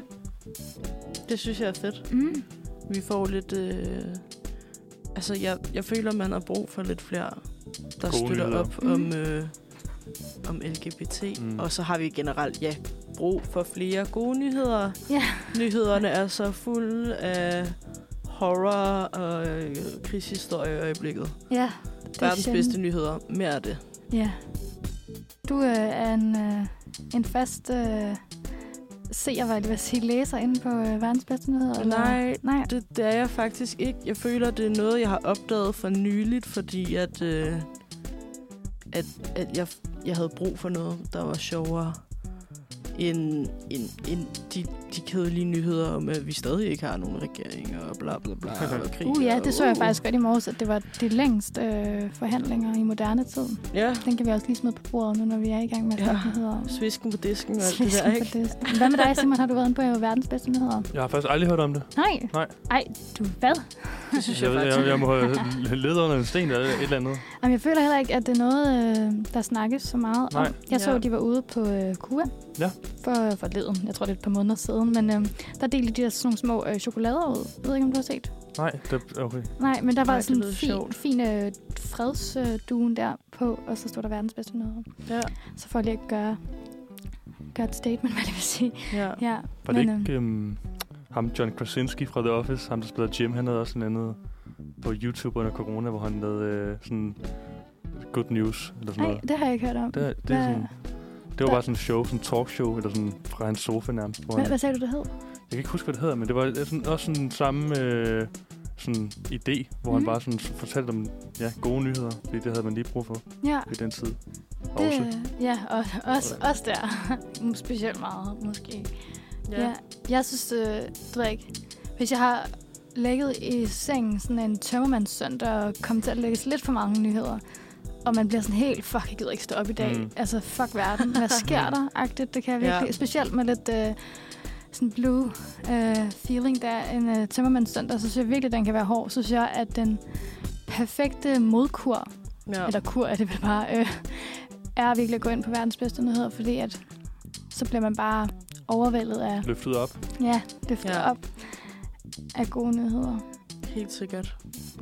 Speaker 2: det synes jeg er fedt.
Speaker 1: Mm.
Speaker 2: Vi får lidt... Øh, altså, jeg, jeg føler, man har brug for lidt flere, der
Speaker 3: Gode
Speaker 2: støtter
Speaker 3: nyheder.
Speaker 2: op om, øh, om LGBT.
Speaker 3: Mm.
Speaker 2: Mm. Og så har vi generelt, ja, brug for flere gode nyheder.
Speaker 1: Ja.
Speaker 2: Nyhederne er så fulde af horror og øh, krigshistorie i øjeblikket.
Speaker 1: Ja. Det er
Speaker 2: Verdens
Speaker 1: sjældent.
Speaker 2: bedste nyheder. Mere af det.
Speaker 1: Ja. Du øh, er en, øh, en fast øh, seer, hvad jeg lige vil sige, læser inde på øh, verdens bedste nyheder? Eller?
Speaker 2: Nej,
Speaker 1: Nej.
Speaker 2: Det, det er jeg faktisk ikke. Jeg føler, det er noget, jeg har opdaget for nyligt, fordi at, øh, at, at jeg, jeg havde brug for noget, der var sjovere. end, end, end de, de kedelige nyheder om, at vi stadig ikke har nogen regering og bla bla bla og krig.
Speaker 1: Uh ja,
Speaker 2: og-
Speaker 1: det så jeg faktisk godt i morges, at det var de længste øh, forhandlinger i moderne tid.
Speaker 2: Ja,
Speaker 1: Den kan vi også lige smide på bordet nu, når vi er i gang med at
Speaker 2: Ja.
Speaker 1: snakke nyheder om.
Speaker 2: svisken på disken og alt det
Speaker 1: Svisken
Speaker 2: der,
Speaker 1: på
Speaker 2: ikke?
Speaker 1: disken. Hvad med dig, Simon? Har du været inde på verdens bedste nyheder?
Speaker 3: Jeg har faktisk aldrig hørt om det.
Speaker 1: Nej.
Speaker 3: Nej.
Speaker 1: Ej, du hvad?
Speaker 2: Det synes jeg,
Speaker 3: Jeg,
Speaker 2: jeg
Speaker 3: jeg,
Speaker 2: faktisk.
Speaker 3: jeg, jeg må have ledet under en sten eller et eller andet.
Speaker 1: Jamen, jeg føler heller ikke, at det er noget, øh, der snakkes så meget
Speaker 3: Nej.
Speaker 1: om. Jeg så,
Speaker 2: Ja.
Speaker 1: at de var ude på øh, Cuba
Speaker 3: Ja.
Speaker 1: for, for leden. Jeg tror, det er et par måneder siden. Men øh, der delte de der sådan nogle små øh, chokolader ud. Jeg ved ikke, om du har set.
Speaker 3: Nej, det, okay.
Speaker 1: Nej, men der var
Speaker 2: Nej, det
Speaker 1: sådan
Speaker 2: lød
Speaker 1: en fin,
Speaker 2: sjovt.
Speaker 1: fin øh, fredsduen der på, og så stod der verdens bedste nyheder.
Speaker 2: Ja,
Speaker 1: Så får jeg lige at gøre, gøre et statement, hvad det vil sige.
Speaker 2: ja.
Speaker 1: Ja,
Speaker 3: Var det ikke øhm, ham, John Krasinski fra The Office, ham der spiller Jim, han havde også en andet på YouTube under corona, hvor han lavede øh, sådan good news eller sådan
Speaker 1: nej,
Speaker 3: noget.
Speaker 1: det har jeg ikke hørt om.
Speaker 3: Det, er- det, er
Speaker 1: Hvad-
Speaker 3: sådan, det var
Speaker 1: Hvad-
Speaker 3: bare sådan en show, sådan en talkshow, eller sådan fra hans sofa nærmest. Hvor
Speaker 1: Hvad,
Speaker 3: han,
Speaker 1: hvad
Speaker 3: jeg
Speaker 1: sagde du, det hed?
Speaker 3: kan ikke huske, hvad det hedder, men det var øh, sådan, også sådan samme øh, sådan idé, hvor mm. han
Speaker 1: Mhm.
Speaker 3: bare sådan fortalte om ja, gode nyheder, fordi det havde man lige brug for
Speaker 1: Ja,
Speaker 3: i den tid. Også.
Speaker 1: det, ja og også, også der. Specielt meget, måske. Ja. ja. Jeg synes, øh, det ved jeg ikke. Hvis jeg har lægget i sengen sådan en tømmermandssøndag og kommet til at lægges lidt for mange nyheder, og man bliver sådan helt, fuck, jeg gider ikke stå op i dag.
Speaker 3: Mm.
Speaker 1: Mm. Altså, fuck verden. Hvad sker der? Agtigt, det kan jeg
Speaker 2: Ja.
Speaker 1: virkelig. Ja. Specielt med lidt øh, sådan blue øh, feeling der, en øh, tømmermandssøndag, så synes jeg virkelig, den kan være hård. Så synes jeg, at den perfekte modkur
Speaker 2: ja.
Speaker 1: eller kur er det vel bare, øh, er virkelig at gå ind på verdens bedste nyheder, fordi at så bliver man bare overvældet af,
Speaker 3: Løftet op.
Speaker 1: ja, løftet
Speaker 2: Ja.
Speaker 1: ja. op af gode nyheder.
Speaker 2: Helt sikkert.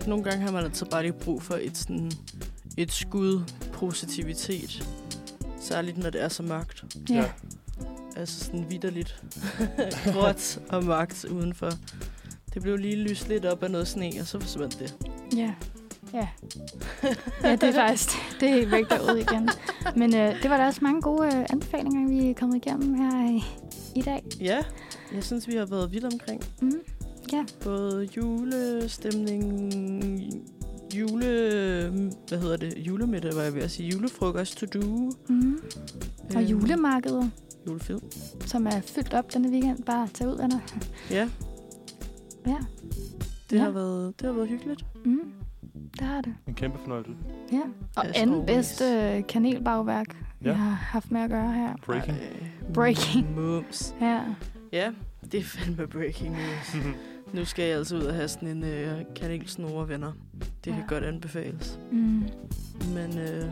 Speaker 2: Nogle gange har man altså bare lige brug for et, sådan, et skud positivitet. Særligt når det er så mørkt.
Speaker 1: Ja.
Speaker 3: Ja.
Speaker 1: ja.
Speaker 2: Altså sådan vidderligt gråt og mørkt udenfor. Det blev lige lyst lidt op af noget sne, og så forsvandt det.
Speaker 1: Ja. Ja. ja, det er faktisk det er helt væk derude igen. Men øh, det var da også mange gode øh, anbefalinger, vi er kommet igennem her i, i dag.
Speaker 2: Ja, jeg synes, vi har været vidt omkring.
Speaker 1: Mm. Ja.
Speaker 2: Både julestemning, jule... Hvad hedder det? Julemiddag, var jeg ved at sige. Julefrokost to do.
Speaker 1: Mm. Og
Speaker 2: Øhm,
Speaker 1: julemarkedet,
Speaker 2: Julefilm.
Speaker 1: som er fyldt op denne weekend, bare tag ud, venner.
Speaker 2: Ja,
Speaker 1: Ja.
Speaker 2: det,
Speaker 1: Ja.
Speaker 2: Har været, det har været hyggeligt.
Speaker 1: Mm. Der har det.
Speaker 3: En kæmpe fornøjelse.
Speaker 1: Ja, og
Speaker 2: As
Speaker 1: anden
Speaker 2: always.
Speaker 1: bedste øh, kanelbagværk, ja.
Speaker 3: Ja.
Speaker 1: jeg har haft med at gøre her.
Speaker 3: Breaking.
Speaker 2: Ej,
Speaker 1: øh, Breaking.
Speaker 2: Mums.
Speaker 1: Ja,
Speaker 2: Ja, det er fandme breaking news. nu skal jeg altså ud og have sådan en øh, kanelsnore, venner. Det kan
Speaker 1: Ja.
Speaker 2: godt anbefales.
Speaker 1: mm.
Speaker 2: Men øh,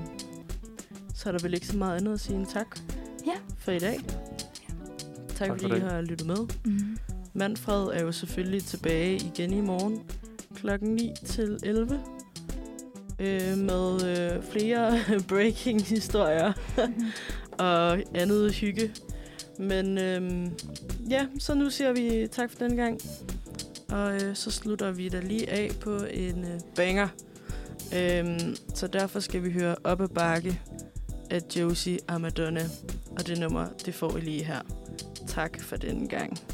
Speaker 2: så er der vel ikke så meget andet at sige end tak
Speaker 1: Ja.
Speaker 2: for i dag. Tak,
Speaker 3: for
Speaker 2: tak fordi
Speaker 3: i
Speaker 2: I
Speaker 3: dag.
Speaker 2: har lyttet med.
Speaker 1: Mm.
Speaker 2: Manfred er jo selvfølgelig tilbage igen i morgen klokken 9 til 11 øh, med øh, flere breaking historier
Speaker 1: Mm.
Speaker 2: og andet hygge. Men øh, ja, så nu siger vi tak for den gang. Og øh, så slutter vi da lige af på en øh, banger. Øhm, så derfor skal vi høre op ad bakke af Josie Amadonna. Og det nummer, det får I lige her. Tak for den gang.